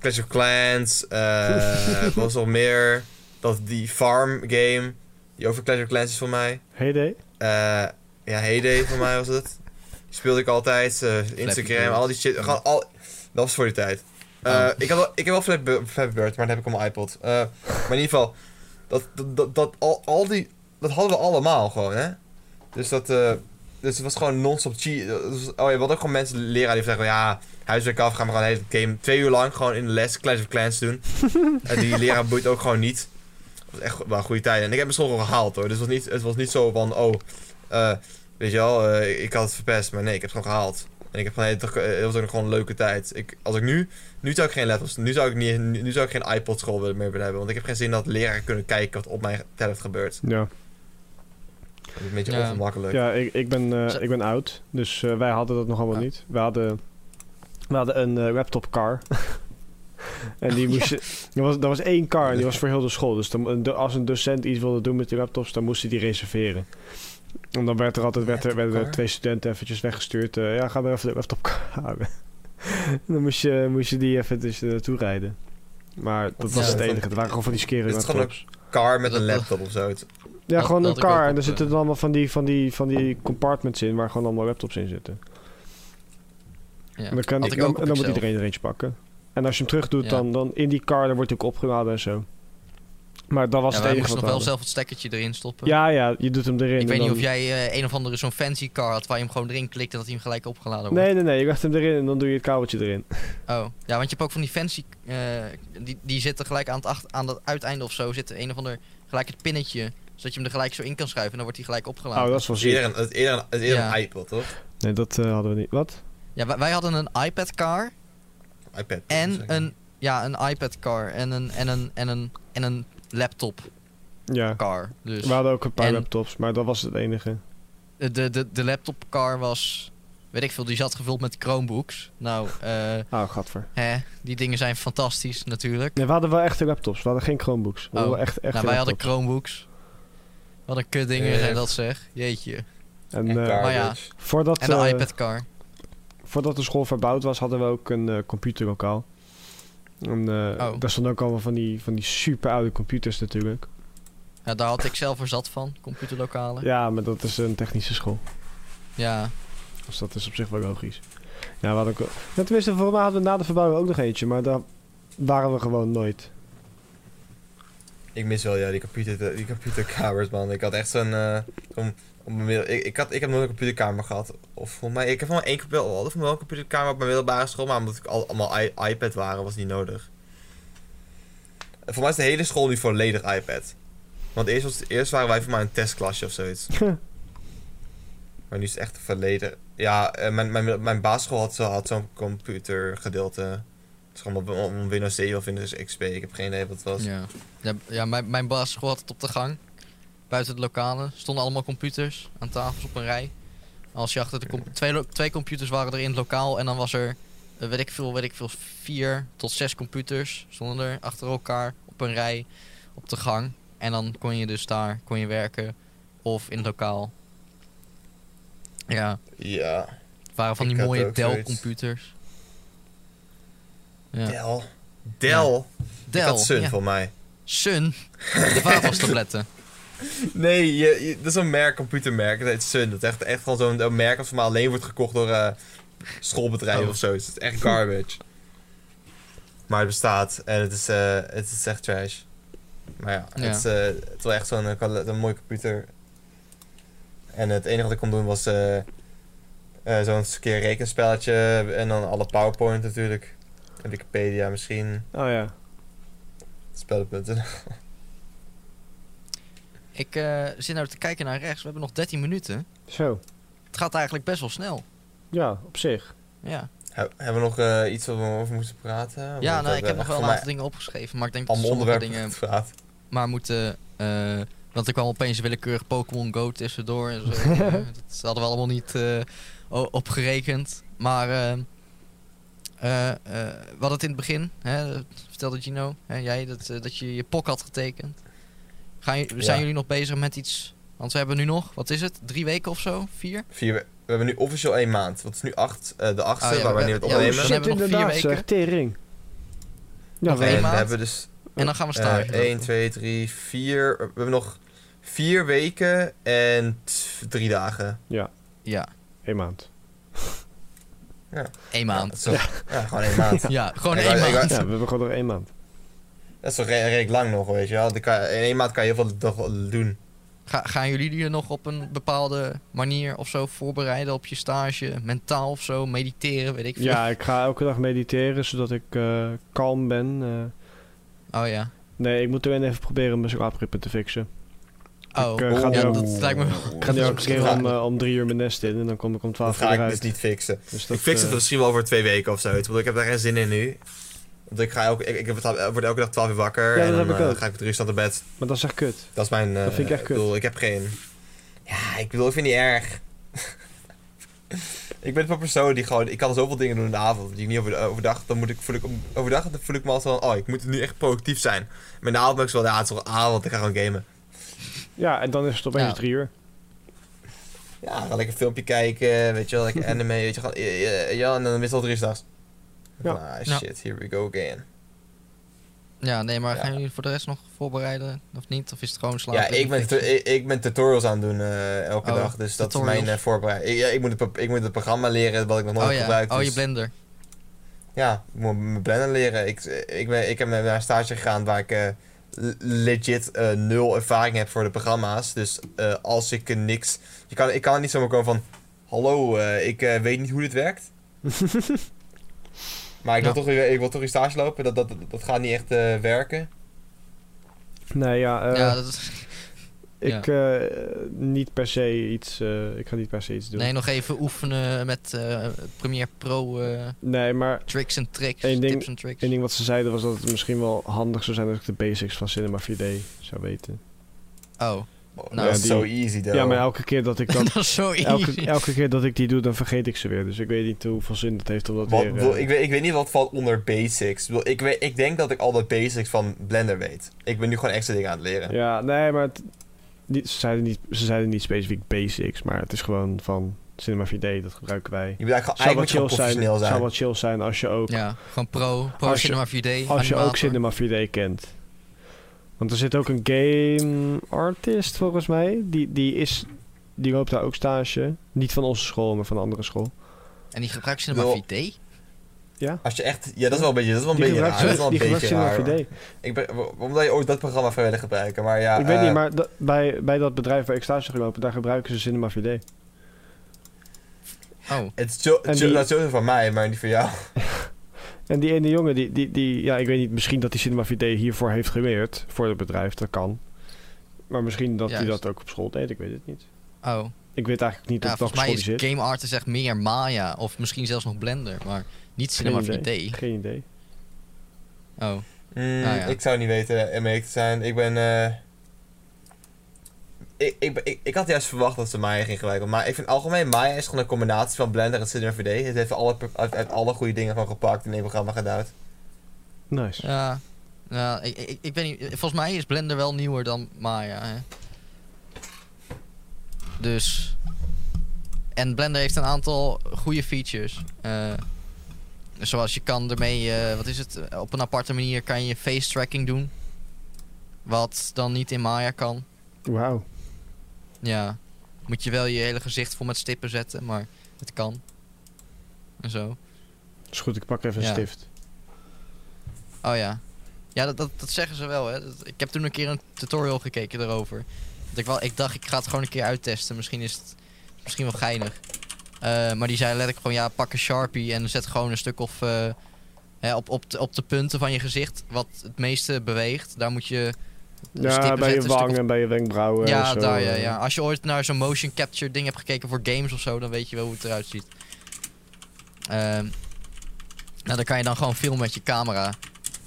Clash of Clans. eh, wat was nog meer? Dat die farm game. Die over Clash of Clans is voor mij. Heyday. Eh, ja, Heyday voor mij was het. Die speelde ik altijd. eh, Instagram, Bird. al die shit. Gewoon al... Dat was voor die tijd. Eh, Oh. ik, heb wel, ik heb wel Flappy Bu- Flappy Bird, maar dat heb ik op mijn iPod. Eh, maar in ieder geval, dat, dat, dat, dat- al, al die, dat hadden we allemaal gewoon, hè? Dus dat... eh, dus het was gewoon non-stop cheat. Dat was- Oh ja, we hadden ook gewoon mensen, leraren die zeggen... Ja, huiswerk af, gaan we gewoon een hele game twee uur lang gewoon in de les Clash of Clans doen. en die leraar boeit ook gewoon niet. Dat was echt wel een goede tijd. En ik heb mijn school gewoon gehaald, hoor. Dus het was niet, het was niet zo van... Oh, eh, weet je wel, eh, ik had het verpest. Maar nee, ik heb het gewoon gehaald. En ik heb gewoon, toch, heel veel gewoon een leuke tijd. Ik, als ik nu, nu zou ik geen laptops, nu zou ik, niet, nu, nu zou ik geen iPod school willen- meer willen hebben. Want ik heb geen zin dat leraren kunnen kijken wat op mijn tablet gebeurt. Ja, Dat is een beetje Ja. ongemakkelijk. ja ik, ik, ben, eh, Zo- ik ben oud, dus eh, wij hadden dat nog allemaal Ja. niet. We hadden, we hadden een eh, laptop car. en die moest je, er, was, er was één car en die was voor heel de school. Dus dan, een do- als een docent iets wilde doen met die laptops, dan moest hij die reserveren. En dan werd er altijd werd er, werden er Laptopcar? twee studenten eventjes weggestuurd. eh, ja, ga maar even de laptop car halen. En dan moest je, moest je die eventjes eh, naartoe rijden. Maar dat Ja, was het dat- enige. Het waren gewoon van die skere Dit is gewoon laptops. Car met Dat- een dat- laptop of zo. Het- Ja, Dat- gewoon dat een ik ook car. op, En er eh, zitten dan allemaal van die, van, die, van die compartments in waar gewoon allemaal laptops in zitten. Ja. en dan, kan, Had ik dan, ook op en dan moet Excel. iedereen er eentje pakken. En als je hem terug doet, Ja. dan, dan in die car, dan wordt hij ook opgeladen en zo. Maar dat was Ja, het wij enige moesten wat nog we wel hadden. zelf het stekkertje erin stoppen. Ja, ja, je doet hem erin. Ik en weet niet dan- of jij eh, een of andere zo'n fancy car had waar je hem gewoon erin klikt en dat hij hem gelijk opgeladen wordt. Nee, nee, nee. Je legt hem erin en dan doe je het kabeltje erin. Oh, ja, want je hebt ook van die fancy, eh, die, die zitten gelijk aan het, acht, aan het uiteinde of zo, zit een of ander, gelijk het pinnetje, zodat je hem er gelijk zo in kan schuiven en dan wordt hij gelijk opgeladen. Oh, dat is wel Het is ziek. eerder een, het is eerder een, het is eerder een iPod, toch? Nee, dat eh, hadden we niet. Wat? Ja, wij, wij hadden een iPad car iPad. dus, zeg ik. en een, ja, een iPad car en een, en een, en een, en een laptop Ja. car. Dus We hadden ook een paar En- laptops, maar dat was het enige. de, de, de laptop car was, weet ik veel, die zat gevuld met Chromebooks. Nou, eh, Ah, gadver. hè, die dingen zijn fantastisch natuurlijk. Nee, we hadden wel echte laptops. We hadden geen Chromebooks. We Oh. hadden wel echt, echt nou, wij hadden Chromebooks. Wat een kut dingen Eh. zijn dat zeg, jeetje. En, En dus. eh, garbage. maar ja. voordat, En een eh, iPad car. Voordat de school verbouwd was, hadden we ook een eh, computerlokaal. En, eh, Oh. Daar stonden ook allemaal van die, van die super oude computers natuurlijk. Ja, daar had ik zelf er zat van, computerlokalen. Ja. Ja, maar dat is een technische school. Dus dat is op zich wel logisch. Ja, we hadden ook... ja, tenminste, voor mij hadden we na de verbouwing ook nog eentje, maar daar waren we gewoon nooit. Ik mis wel ja, die, computer, die computerkamers, man. Ik had echt zo'n. eh, zo'n- op mijn middel- ik, ik, had, ik heb nooit een computerkamer gehad. Of voor mij, ik heb wel één computer, wel wel een computerkamer op mijn middelbare school, maar omdat ik al, allemaal i- iPad waren, was het niet nodig. En voor mij is de hele school nu volledig iPad. Want eerst, was, eerst waren wij voor mij een testklasje of zoiets. Maar nu is het echt volledig. Ja, eh, mijn, mijn, mijn basisschool had, zo, had zo'n computergedeelte. Het is gewoon om- om Windows 7 of Windows XP. Ik heb geen idee wat het was. Ja, ja, ja mijn, mijn basisschool had het op de gang. Buiten de lokalen stonden allemaal computers aan tafels op een rij. Als je achter de com- twee, lo- twee computers waren er in het lokaal en dan was er, eh, weet ik veel, weet ik veel, vier tot zes computers stonden er achter elkaar op een rij op de gang. En dan kon je dus daar, kon je werken of in het lokaal. Ja, ja. het waren van Ik die had mooie ook zoiets. Dell computers. Ja. Del. Del. Dell, Ik had Sun ja. voor mij. Sun. De vaatwastabletten. Nee, je, je- dat is een merk, computermerk. Dat heet Sun. Dat is echt, echt gewoon zo'n een merk als voor mij alleen wordt gekocht door eh, schoolbedrijven Oh. of zo. Dus het is echt garbage. maar het bestaat en het is, eh, het is echt trash. Maar ja, Ja. het is eh, het is wel echt zo'n eh, kwali- een mooie computer. En het enige wat ik kon doen was eh, eh, zo'n keer rekenspelletje en dan alle PowerPoint natuurlijk. En Wikipedia misschien, Oh ja. spelpunten. Ik eh, zit nou te kijken naar rechts. We hebben nog 13 minuten. Zo. Het gaat eigenlijk best wel snel. Ja, op zich. Ja, He- hebben we nog eh, iets waar we over moeten praten? ja Want nou, we ik heb nog wel een voor mij aantal dingen opgeschreven. Maar ik denk dat we allemaal sommige onderwerpen dingen moeten praten. maar moeten... eh, want er kwam opeens willekeurig Pokémon Go tussendoor. En zo. Eh, dat hadden we allemaal niet eh, o- op gerekend. Maar eh, eh, eh, we hadden het in het begin. Hè, dat vertelde Gino. Hè, jij dat, eh, dat je je pok had getekend. Gaan, j- zijn Ja. jullie nog bezig met iets? Want we hebben nu nog, wat is het? Drie weken of zo? Vier? Vier, we hebben nu officieel één maand. Want het is nu acht, eh, de achtste, Ah, ja, waar we- we nu het ja, opnemen. we Oh, shit, hebben nog vier inderdaad weken. zeg. Tering. Ja, Nog we- en één we maand. hebben dus En dan gaan we staan. eh 1, 2, 3, 4. We hebben nog vier weken en t- drie dagen. Ja, één maand. één maand. Ja, dat is toch- ja, gewoon één maand. Ja, gewoon Ik één wou- ik maand. Ja, we hebben gewoon nog één maand. Dat is toch re- redelijk lang nog, weet je wel. Dan kan- In één maand kan je heel veel nog wel doen. Ga- gaan jullie je nog op een bepaalde manier of zo voorbereiden op je stage? Mentaal of zo? Mediteren, weet ik veel. Ja, ik ga elke dag mediteren, zodat ik eh, kalm ben. eh, Oh ja. Nee, ik moet alleen even proberen mijn slaapritme te fixen. Oh, eh, ja, ga nu ook- dat lijkt me wel. Ik ga nu Dat is ook een misschien keer wel- om, eh, om drie uur mijn nest in en dan kom ik om Dat twaalf uur ga ik uit. dus niet fixen. Dus dat, Ik fix het eh, misschien wel over twee weken of zoiets, want ik heb daar geen zin in nu. Want ik, ga elke, ik, ik word elke dag 12 uur wakker Ja, dat en dan heb ik eh, ook. ga ik met rust aan de bed. Maar dat is echt kut. Dat is mijn. eh, Dat vind ik echt kut. bedoel, ik heb geen. Ja, ik bedoel, ik vind het niet erg. ik ben een persoon die gewoon. Ik kan zoveel dingen doen in de avond. Die ik niet over overdag. Dan moet ik, voel ik om- overdag dan voel ik me altijd van. Oh, ik moet nu echt productief zijn. Maar in de avond ben ik zo wel. Ja, het is wel avond. Ik ga gewoon gamen. Ja, en dan is het opeens Ja. drie uur. Ja, ga lekker een filmpje kijken. Weet je wel, lekker anime. Weet je, gewoon, eh, eh, eh, ja, en dan is het al drie s'nachts. Ja. Ah, Ja. shit, here we go again. Ja, nee, maar Ja. gaan jullie voor de rest nog voorbereiden of niet? Of is het gewoon slapen? ja, ik ben, tu- ik, ik ben tutorials aan het doen eh, elke Oh, dag. Dus dat tutorials. is mijn eh, voorbereiding. Ik, ja, ik, moet het, pro- ik moet het programma leren wat ik nog nooit Oh ja, gebruikt. oh je dus- blender. Ja, ik moet mijn blender leren. Ik, ik, ben, ik heb naar een stage gegaan waar ik eh, l- legit eh, nul ervaring heb voor de programma's. Dus eh, als ik eh, niks... Je kan, ik kan niet zomaar komen van... Hallo, eh, ik eh, weet niet hoe dit werkt. maar ik wil, Ja. toch weer, ik wil toch in stage lopen. Dat, dat, dat, dat gaat niet echt eh, werken. Nee, ja, eh, ja, dat is- ik eh, niet per se iets. eh, ik ga niet per se iets doen. nee, nog even oefenen met eh Premiere Pro eh, nee maar tricks en tricks, Eén ding- tips en tricks. Eén ding wat ze zeiden was dat het misschien wel handig zou zijn als ik de basics van Cinema 4D zou weten. Oh, Nou, Nou, dat is die- zo easy, though. Ja, maar elke keer dat ik dat. dat is zo easy. Elke, elke keer dat ik die doe, dan vergeet ik ze weer. Dus ik weet niet hoeveel zin dat heeft om dat Wat, weer... eh, bedoel, ik, weet, ik weet niet wat valt onder basics. Ik, bedoel, ik, weet, ik denk dat ik al de basics van Blender weet. Ik ben nu gewoon extra dingen aan het leren. Ja, nee, maar het, niet, ze, zeiden niet, ze zeiden niet specifiek basics, maar het is gewoon van Cinema 4D, dat gebruiken wij. Je moet eigenlijk, Zou wel eigenlijk chill moet je gewoon zijn, professioneel zijn. zou wel chill zijn als je ook, Ja, gewoon pro, pro Als je- Cinema 4D. als je ook animator. Cinema 4D kent. Want er zit ook een game artist volgens mij, die, die, is, die loopt daar ook stage. Niet van onze school, maar van een andere school. En die gebruikt Cinema Wil- 4D? Als je echt, ja, dat is wel een beetje, dat is wel een Die beetje gebruikt, raar. Dat is wel een die gebruikt beetje Cinema raar. 4D. hoor. Ik ben, wa- waarom zou je ooit dat programma voor willen gebruiken? Maar ja, ik weet niet, eh, maar dat- bij, bij dat bedrijf waar ik stage gelopen, daar gebruiken ze Cinema 4D. Oh, het is zo- En zo- die- dat is sowieso van mij, maar niet voor jou. En die ene jongen, die, die, die, ja, ik weet niet, misschien dat die Cinema 4D hiervoor heeft geleerd voor het bedrijf, dat kan. Maar misschien dat hij Juist. dat ook op school deed, ik weet het niet. oh. Ik weet eigenlijk niet Ja, of dat op volgens school mij die zit. is Game Artist echt meer Maya. Of misschien zelfs nog Blender. Maar niet Cinema Geen 4D. Geen idee. Oh, Mm, Nou ja. Ik zou niet weten eh, mee te zijn. Ik ben. eh, ik, ik, ben- ik, ik had juist verwacht dat ze Maya ging gebruiken. Maar ik vind algemeen Maya is gewoon een combinatie van Blender en Cinema 4D. Het heeft alle, pro- uit, uit alle goede dingen van gepakt en in één programma gedouwd. Nice. ja. Ja, ik, ik, ik weet niet. Volgens mij is Blender wel nieuwer dan Maya. Hè? Dus. En Blender heeft een aantal goede features. Eh, zoals je kan ermee, eh, wat is het? Eh, Op een aparte manier kan je face tracking doen. Wat dan niet in Maya kan. Wauw. Ja. Moet je wel je hele gezicht vol met stippen zetten, maar het kan. En zo. Is goed, ik pak even een Ja. stift. Oh ja. Ja, dat, dat, dat zeggen ze wel, hè. Dat- ik heb toen een keer een tutorial gekeken daarover. Dat ik, wel, ik dacht, ik ga het gewoon een keer uittesten. Misschien is het misschien wel geinig. Eh, maar die zei letterlijk gewoon, ja, pak een Sharpie en zet gewoon een stuk of... eh, hè, op, op, de, op de punten van je gezicht, wat het meeste beweegt. Daar moet je... Ja, stippen bij je zetten, een stuk wang en bij je wenkbrauwen en Ja, zo. daar, ja, eh. ja. Als je ooit naar zo'n motion capture ding hebt gekeken voor games of zo, dan weet je wel hoe het eruit ziet. Ehm, nou, dan kan je dan gewoon filmen met je camera.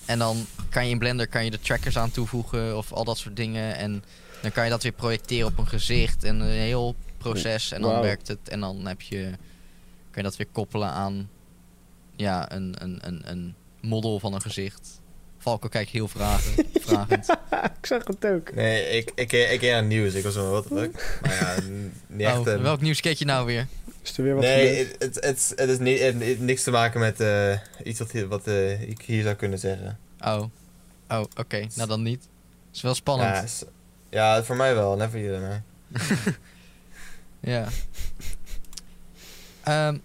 En dan kan je in Blender kan je de trackers aan toevoegen of al dat soort dingen. En dan kan je dat weer projecteren op een gezicht en een heel proces. En dan Wauw. werkt het. En dan heb je, kan je dat weer koppelen aan ja, een, een, een, een model van een gezicht. Valko kijkt heel vragen, vragend. Ik zag het ook. Nee, ik, ik, ik, ik ken het nieuws. Ik was zo wat leuk. Maar ja, n- niet echt. Oh, eh, welk nieuws keek je nou weer? Is er weer wat nee, gebeurd? het, het, het, het is ni- het- het- niks te maken met eh, iets wat, hier- wat eh, ik hier zou kunnen zeggen. Oh. Oh, oké. Nou dan niet. Is wel spannend. Ja, Ja. is- ja, voor mij wel. Never you mij. Ehm,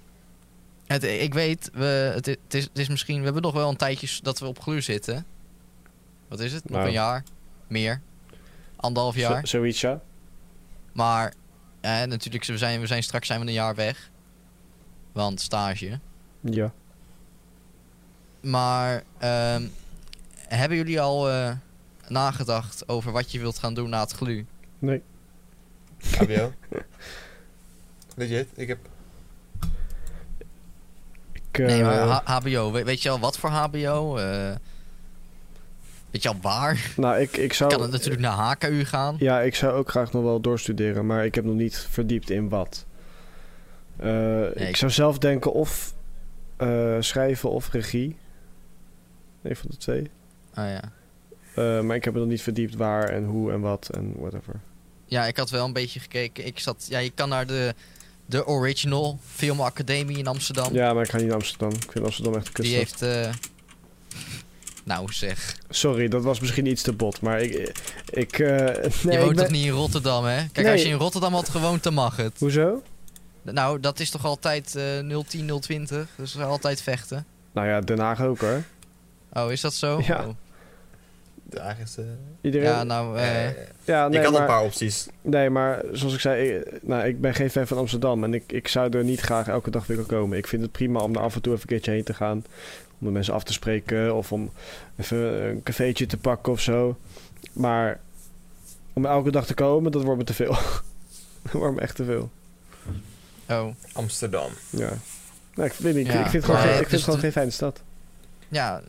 het, ik weet, we, het, i- het is, het is misschien... We hebben nog wel een tijdje s- dat we op gluur zitten. Wat is het? Nog Nou. een jaar? Meer? Anderhalf jaar? Zo- Zoiets, ja. Maar eh, natuurlijk, we zijn, we zijn, straks zijn we een jaar weg. Want stage. Ja. Maar ehm, hebben jullie al eh, nagedacht over wat je wilt gaan doen na het glu? Nee. HBO. Legit, ik heb... Ik, Nee, eh, maar H- HBO. We- weet je al wat voor HBO? Eh, weet je al waar? nou, ik, ik zou... Kan het natuurlijk naar HKU gaan? eh, Ja, ik zou ook graag nog wel doorstuderen, maar ik heb nog niet verdiept in wat. Eh, ik ik- zou zelf denken of eh, schrijven of regie. Een van de twee. Ah, ja. Eh, maar ik heb het nog niet verdiept waar en hoe en wat en whatever. ja, ik had wel een beetje gekeken. Ik zat, ja, je kan naar de, de Original Filmacademie in Amsterdam. Ja, maar ik ga niet naar Amsterdam. Ik vind Amsterdam echt een Die kutstad. heeft... eh, nou zeg, Sorry, dat was misschien iets te bot, maar ik... ik eh, nee, je ik woont ben- toch niet in Rotterdam, hè? Kijk, Nee. als je in Rotterdam had gewoond, dan mag het. Hoezo? Nou, dat is toch altijd eh 010, 020? Dus altijd vechten. Nou ja, Den Haag ook hoor. Oh, is dat zo? Ja. Oh. De eigenste... Iedereen... Ja, nou... eh, Eh, Ja, Ah, nee, ik had maar... een paar opties. Nee, maar zoals ik zei, ik, nou, ik ben geen fan van Amsterdam. En ik, ik zou er niet graag elke dag willen komen. Ik vind het prima om er af en toe even een keertje heen te gaan. Om de mensen af te spreken of om even een cafeetje te pakken of zo. Maar om elke dag te komen, dat wordt me te veel. dat wordt me echt te veel. oh. Amsterdam. Ja. Nou, ik, weet niet, ik- Ja, ik vind het gewoon, maar geen, ik het vind is het gewoon de- geen fijne stad. Ja,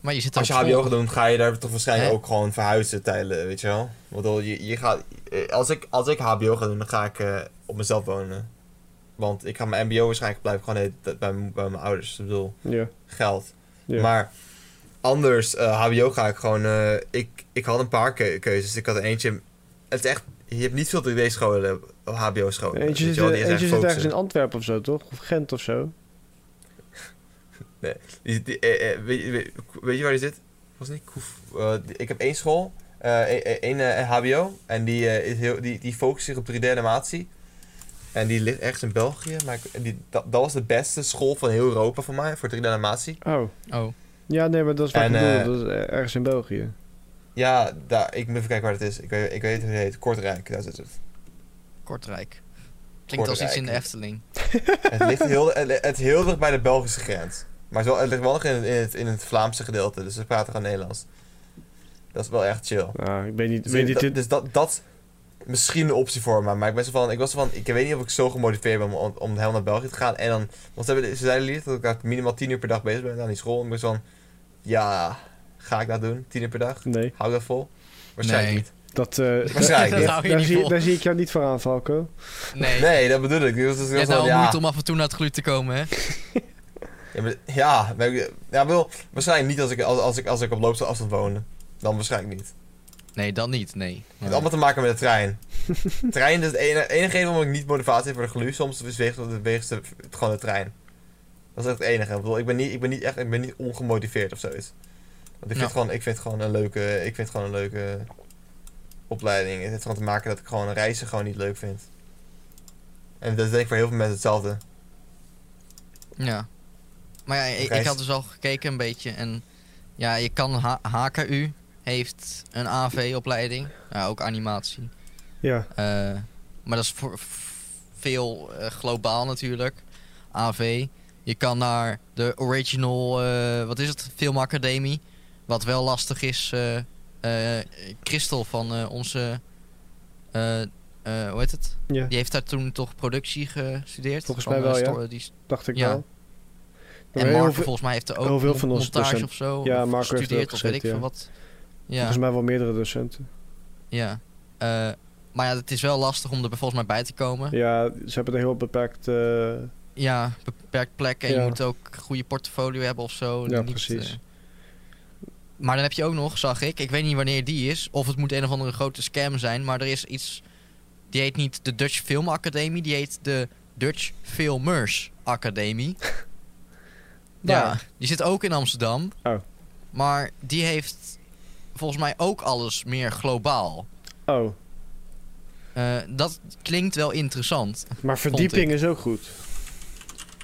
maar je zit Als je op school. HBO gaat doen, ga je daar toch waarschijnlijk Hè? ook gewoon verhuizen tijdelijk, weet je wel? Want al je, je gaat, eh, als, ik, als ik HBO ga doen, dan ga ik eh, op mezelf wonen. Want ik ga mijn MBO waarschijnlijk blijven gewoon de hele tijd bij, mijn- bij mijn ouders. Ik bedoel, Ja. geld. ja. Maar anders, eh, HBO ga ik gewoon. eh, ik, ik had een paar ke- keuzes. Ik had er eentje. Het is echt. Je hebt niet veel 3D-scholen, HBO-scholen. eentje weet zit, je wel, die zijn eentje zit ergens focussen. in Antwerpen of zo, toch? Of Gent of zo. Die- die- eh, eh, weet, je- weet- weet je waar die zit? Was niet Koef. eh, die- ik heb één school, eh, e- e- één eh, HBO, en die, eh, is heel, die, die focust zich op 3D-animatie. En die ligt ergens in België, maar ik- die, dat, dat was de beste school van heel Europa voor mij, voor 3D-animatie. Oh. Oh, Ja, nee, maar dat is wat En, ik bedoel. eh, dat is ergens in België. Ja, daar, ik moet even kijken waar het is. Ik weet, ik weet hoe het heet, Kortrijk, daar zit het. Kortrijk. Klinkt als iets in de Kortrijk. Efteling. Het ligt heel, het, het heel dicht bij de Belgische grens. Maar het, is wel, het ligt wel nog in het, in, het, in het Vlaamse gedeelte, dus ze praten gewoon Nederlands. Dat is wel echt chill. Nou, ik weet niet... Dus, weet niet dat, dit... dus dat, dat misschien een optie voor me. Maar ik, ben zo van, ik was zo van, ik weet niet of ik zo gemotiveerd ben om, om helemaal naar België te gaan. En dan, want ze, hebben, ze zeiden lief dat ik daar minimaal 10 uur per dag bezig ben aan die school. En ik was van, ja, ga ik dat doen? 10 uur per dag? Nee. Hou ik dat vol? Waarschijnlijk Nee. niet. Dat, eh Waarschijnlijk Dat niet. hou je daar, niet zie, vol. daar zie ik jou niet voor aan, Falco. Nee. Nee, dat bedoel ik. Dus, dus, Je ik was hebt van, nou al ja, moeite om af en toe naar het gloed te komen, hè? ja, maar, ja, maar ik- ja, wel, waarschijnlijk niet als ik, als, als ik, als ik op loopse afstand woonde. Dan waarschijnlijk niet. Nee, dan niet, nee. Het heeft allemaal te maken met de trein. trein is het enige, enige reden waarom ik niet motivatie heb voor de gelu. Soms is wegens, wegens de, gewoon de trein. Dat is echt het enige. Ik, bedoel, ik, ben, niet, ik, ben, niet echt, ik ben niet ongemotiveerd of zoiets. Want ik vind, Ja. gewoon, ik vind gewoon een leuke, ik vind gewoon een leuke opleiding. Het heeft gewoon te maken dat ik gewoon reizen gewoon niet leuk vind. En dat is denk ik voor heel veel mensen hetzelfde. Ja. Maar ja, ik, ik Reis. had dus al gekeken een beetje. En ja, je kan... H- HKU heeft een AV-opleiding. Ja, ook animatie. Ja. Eh, maar dat is voor f- veel eh, globaal natuurlijk. AV. Je kan naar de original, eh, wat is het? Filmacademie. Wat wel lastig is. eh eh, Christel van eh, onze. eh, eh, hoe heet het? ja, Die heeft daar toen toch productie gestudeerd? Volgens Van, mij eh, wel, ja. sto- die st- dacht ik Ja. wel. Maar en heel Marco veel- volgens mij heeft er ook heel veel van mon- onze montage docenten. of zo. Ja, of Marco heeft er ook gestudeerd of weet ik gezeten, veel ja. wat. Ja. volgens mij wel meerdere docenten. ja. Eh, maar ja, het is wel lastig om er volgens mij bij te komen. Ja, ze hebben een heel beperkt... eh, Ja, beperkt plek. En Ja. je moet ook een goede portfolio hebben of zo. Ja, Niet, precies. eh. maar dan heb je ook nog, zag ik, ik weet niet wanneer die is. Of het moet een of andere grote scam zijn. Maar er is iets, die heet niet de Dutch Film Academie. Die heet de Dutch Filmers Academie. ja, Waar? die zit ook in Amsterdam. Oh. Maar die heeft volgens mij ook alles meer globaal. Oh, Eh, dat klinkt wel interessant. maar verdieping is ook goed.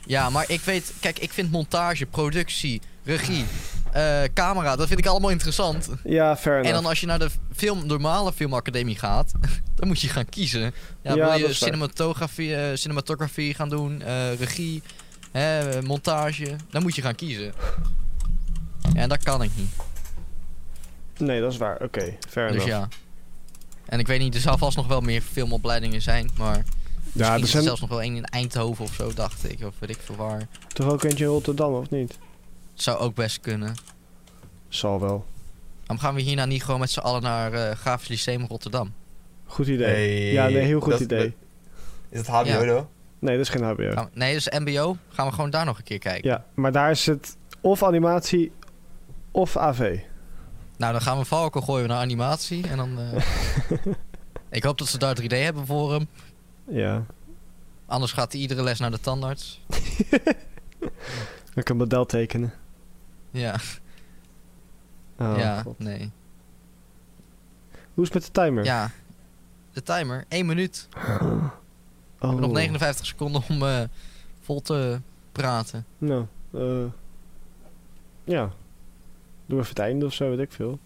Ja, maar ik weet, kijk, ik vind montage, productie, regie, eh, camera, dat vind ik allemaal interessant. Ja, fair En enough. dan als je naar de film, normale filmacademie gaat, dan moet je gaan kiezen. Ja, Ja, wil dat je is waar. cinematografie, eh, cinematography gaan doen, eh, regie, hè, eh, montage, dan moet je gaan kiezen. Ja, en dat kan ik niet. Nee, dat is waar. Oké, fair dus enough. ja. En ik weet niet, er zal vast nog wel meer filmopleidingen zijn, maar Ja, misschien er is er zijn zelfs nog wel één in Eindhoven of zo, dacht ik. Of weet ik veel waar. toch ook eentje in Rotterdam, of niet? Zou ook best kunnen. Zal wel. Waarom gaan we hierna niet gewoon met z'n allen naar eh Grafisch Lyceum Rotterdam? Goed idee. Hey, ja, nee, heel goed dat- idee. Is het HBO, Ja. though? Nee, dat is geen HBO. Gaan we- nee, dat is MBO. Gaan we gewoon daar nog een keer kijken. Ja, maar daar is het of animatie of AV. Nou, dan gaan we Valken gooien naar animatie. En dan. eh, ik hoop dat ze daar 3D hebben voor hem. Ja, Anders gaat hij iedere les naar de tandarts. dan kan ik een model tekenen. Ja, Oh, ja, god. nee. Hoe is het met de timer? Ja. De timer, 1 minuut. We oh. hebben nog 59 seconden om eh, vol te praten. Nou, eh, ja. Doe even het einde of zo, weet ik veel.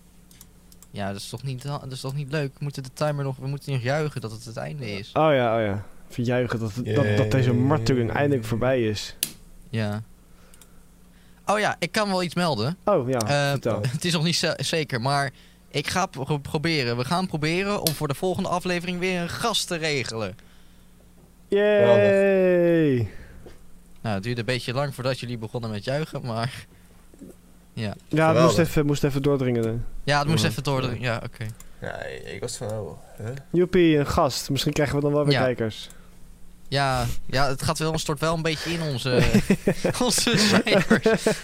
Ja, dat is toch niet, dat is toch niet leuk? We moeten de timer nog, we moeten nog juichen dat het het einde is. Oh ja, oh ja. Verjuichen dat, dat, dat deze marteling eindelijk voorbij is. Ja. Oh ja, ik kan wel iets melden. Oh ja, Eh, vertel. Het is nog niet ze- zeker, maar ik ga pro- proberen. We gaan proberen om voor de volgende aflevering weer een gast te regelen. Yay! Nou, het duurde een beetje lang voordat jullie begonnen met juichen, maar... Ja, het moest Geweldig. even, moest even doordringen. hè. Ja, het moest Ja. even door. de- Ja, oké. Ja, ik was van, oh, huh? Joepie, een gast. Misschien krijgen we dan wel weer Ja. kijkers. Ja, ja, het gaat wel, stort wel een beetje in onze, onze cijfers.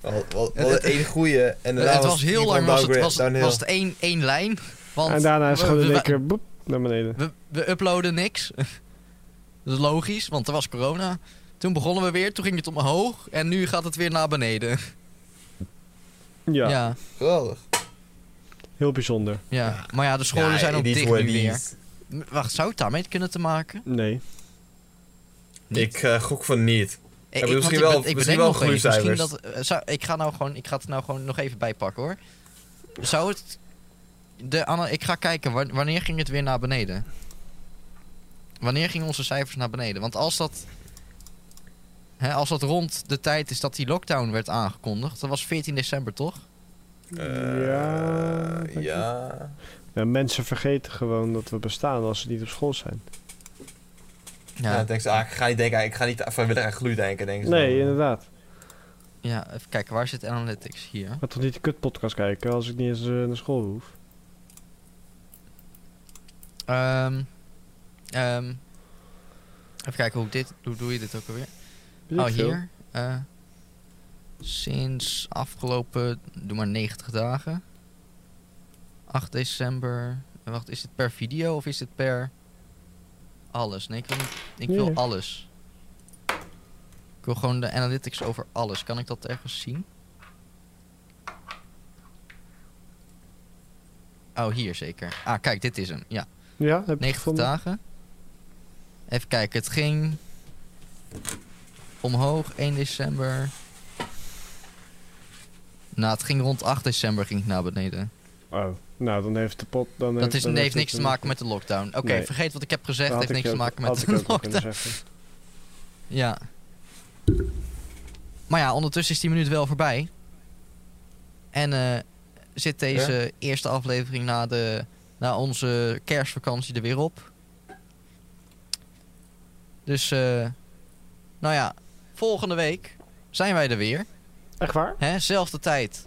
Wat, wat, Het- wat het één goede. En daarna het was heel die lang, van was het, downgrade- was, het- downhill. was het één, één lijn. Want en daarna is we- gewoon we- in één keer boep, naar beneden. We, we uploaden niks. Dat is logisch, want er was corona. Toen begonnen we weer, toen ging het omhoog en nu gaat het weer naar beneden. Ja, ja. Geweldig. heel bijzonder. ja. Maar ja, de scholen Ja, zijn ook it is dicht what nu it weer. is. M- Wacht, zou het daarmee kunnen te maken? Nee. Niet. Ik eh, gok van niet. Eh, bedoel, want misschien ben- wel- bedenk misschien wel nog even, groeicijfers. misschien dat, eh, zou- ik, ga nou gewoon, ik ga het nou gewoon nog even bijpakken hoor. Zou het... De, Anna, ik ga kijken, wa- wanneer ging het weer naar beneden? Wanneer gingen onze cijfers naar beneden? Want als dat... Hè, als dat rond de tijd is dat die lockdown werd aangekondigd... Dat was 14 december, toch? Eh, ja, denk ik. ja. Ja, mensen vergeten gewoon dat we bestaan als ze niet op school zijn. Ja, Ja, denk ze, ah, ik ga niet denken, ik ga niet vrijwillig aan gloed denken, denk ze. Nee, dan. inderdaad. ja, even kijken, waar zit Analytics? Hier. Maar toch niet de kutpodcast kijken als ik niet eens eh, naar school hoef. Ehm, ehm, even kijken, hoe, ik dit, hoe doe je dit ook alweer? Weet Oh, ik veel. hier. Eh, sinds afgelopen, doe maar 90 dagen. 8 december. Eh, Wacht, is dit per video of is dit per alles? Nee, ik wil, niet- ik wil Nee. alles. Ik wil gewoon de analytics over alles. Kan ik dat ergens zien? Oh, hier zeker. Ah, kijk, dit is hem. Ja. Ja, heb je 90 gevonden? dagen. Even kijken, het ging omhoog 1 december. Nou, het ging rond 8 december ging het naar beneden. Oh, nou dan heeft de pot... Dan Dat heeft, is, dan heeft niks het te een- maken met de lockdown. Oké, Nee. vergeet wat ik heb dat gezegd. had heeft ik niks te ook- maken met had de ik ook wel lockdown. kunnen zeggen. Ja. Maar ja, ondertussen is die minuut wel voorbij. En eh, zit deze eerste aflevering na, de, na onze kerstvakantie er weer op. Dus, eh, nou ja, volgende week zijn wij er weer. Echt waar? Hè? Zelfde tijd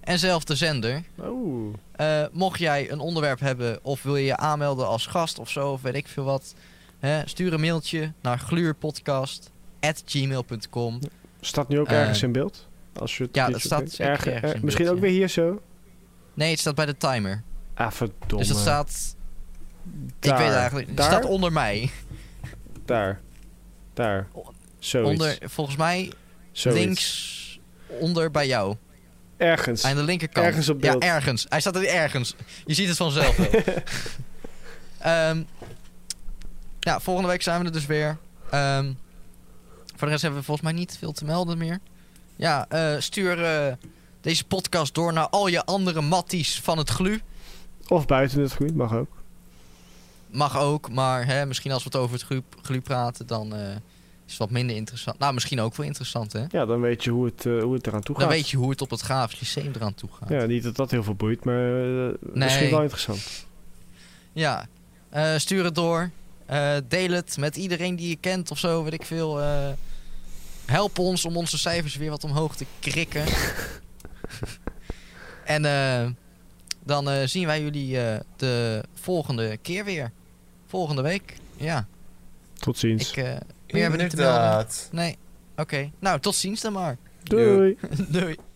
en zelfde zender. Oeh. Eh, mocht jij een onderwerp hebben of wil je je aanmelden als gast of zo, of weet ik veel wat, hè, stuur een mailtje naar gluurpodcast.gmail.com. Staat nu ook Eh, ergens in beeld? Als je het ja, op dat YouTube staat kijkt. zeker Erge- ergens er- in eh, Misschien beeld, ook weer hier zo? Nee, het staat bij de timer. Ah, verdomme. Dus dat staat. Daar. Ik weet het eigenlijk. Het Daar? staat onder mij. Daar. Daar. Zoiets. Onder, volgens mij Zoiets. links onder bij jou. Ergens. Aan de linkerkant. Ergens op beeld. Ja, ergens. Hij staat er ergens. Je ziet het vanzelf wel. Ehm, ja, volgende week zijn we er dus weer. Ehm, voor de rest hebben we volgens mij niet veel te melden meer. Ja, eh, stuur eh, deze podcast door naar al je andere matties van het GLU. Of buiten het groen, mag ook. Mag ook, maar hè, misschien als we het over het GLU, GLU praten, dan eh, Is wat minder interessant. Nou, misschien ook wel interessant, hè? Ja, dan weet je hoe het, eh, hoe het eraan toe gaat. Dan weet je hoe het op het grafisch systeem eraan toe gaat. Ja, niet dat dat heel veel boeit, maar eh, misschien wel interessant. Ja, eh, stuur het door. Eh, deel het met iedereen die je kent of zo, weet ik veel. Eh, help ons om onze cijfers weer wat omhoog te krikken. en eh, dan eh, zien wij jullie eh, de volgende keer weer. Volgende week. Ja, Tot ziens. ik, eh, meer hebben we niet te melden. Inderdaad. Nee, oké. Nou, tot ziens dan maar. Doei. Doei.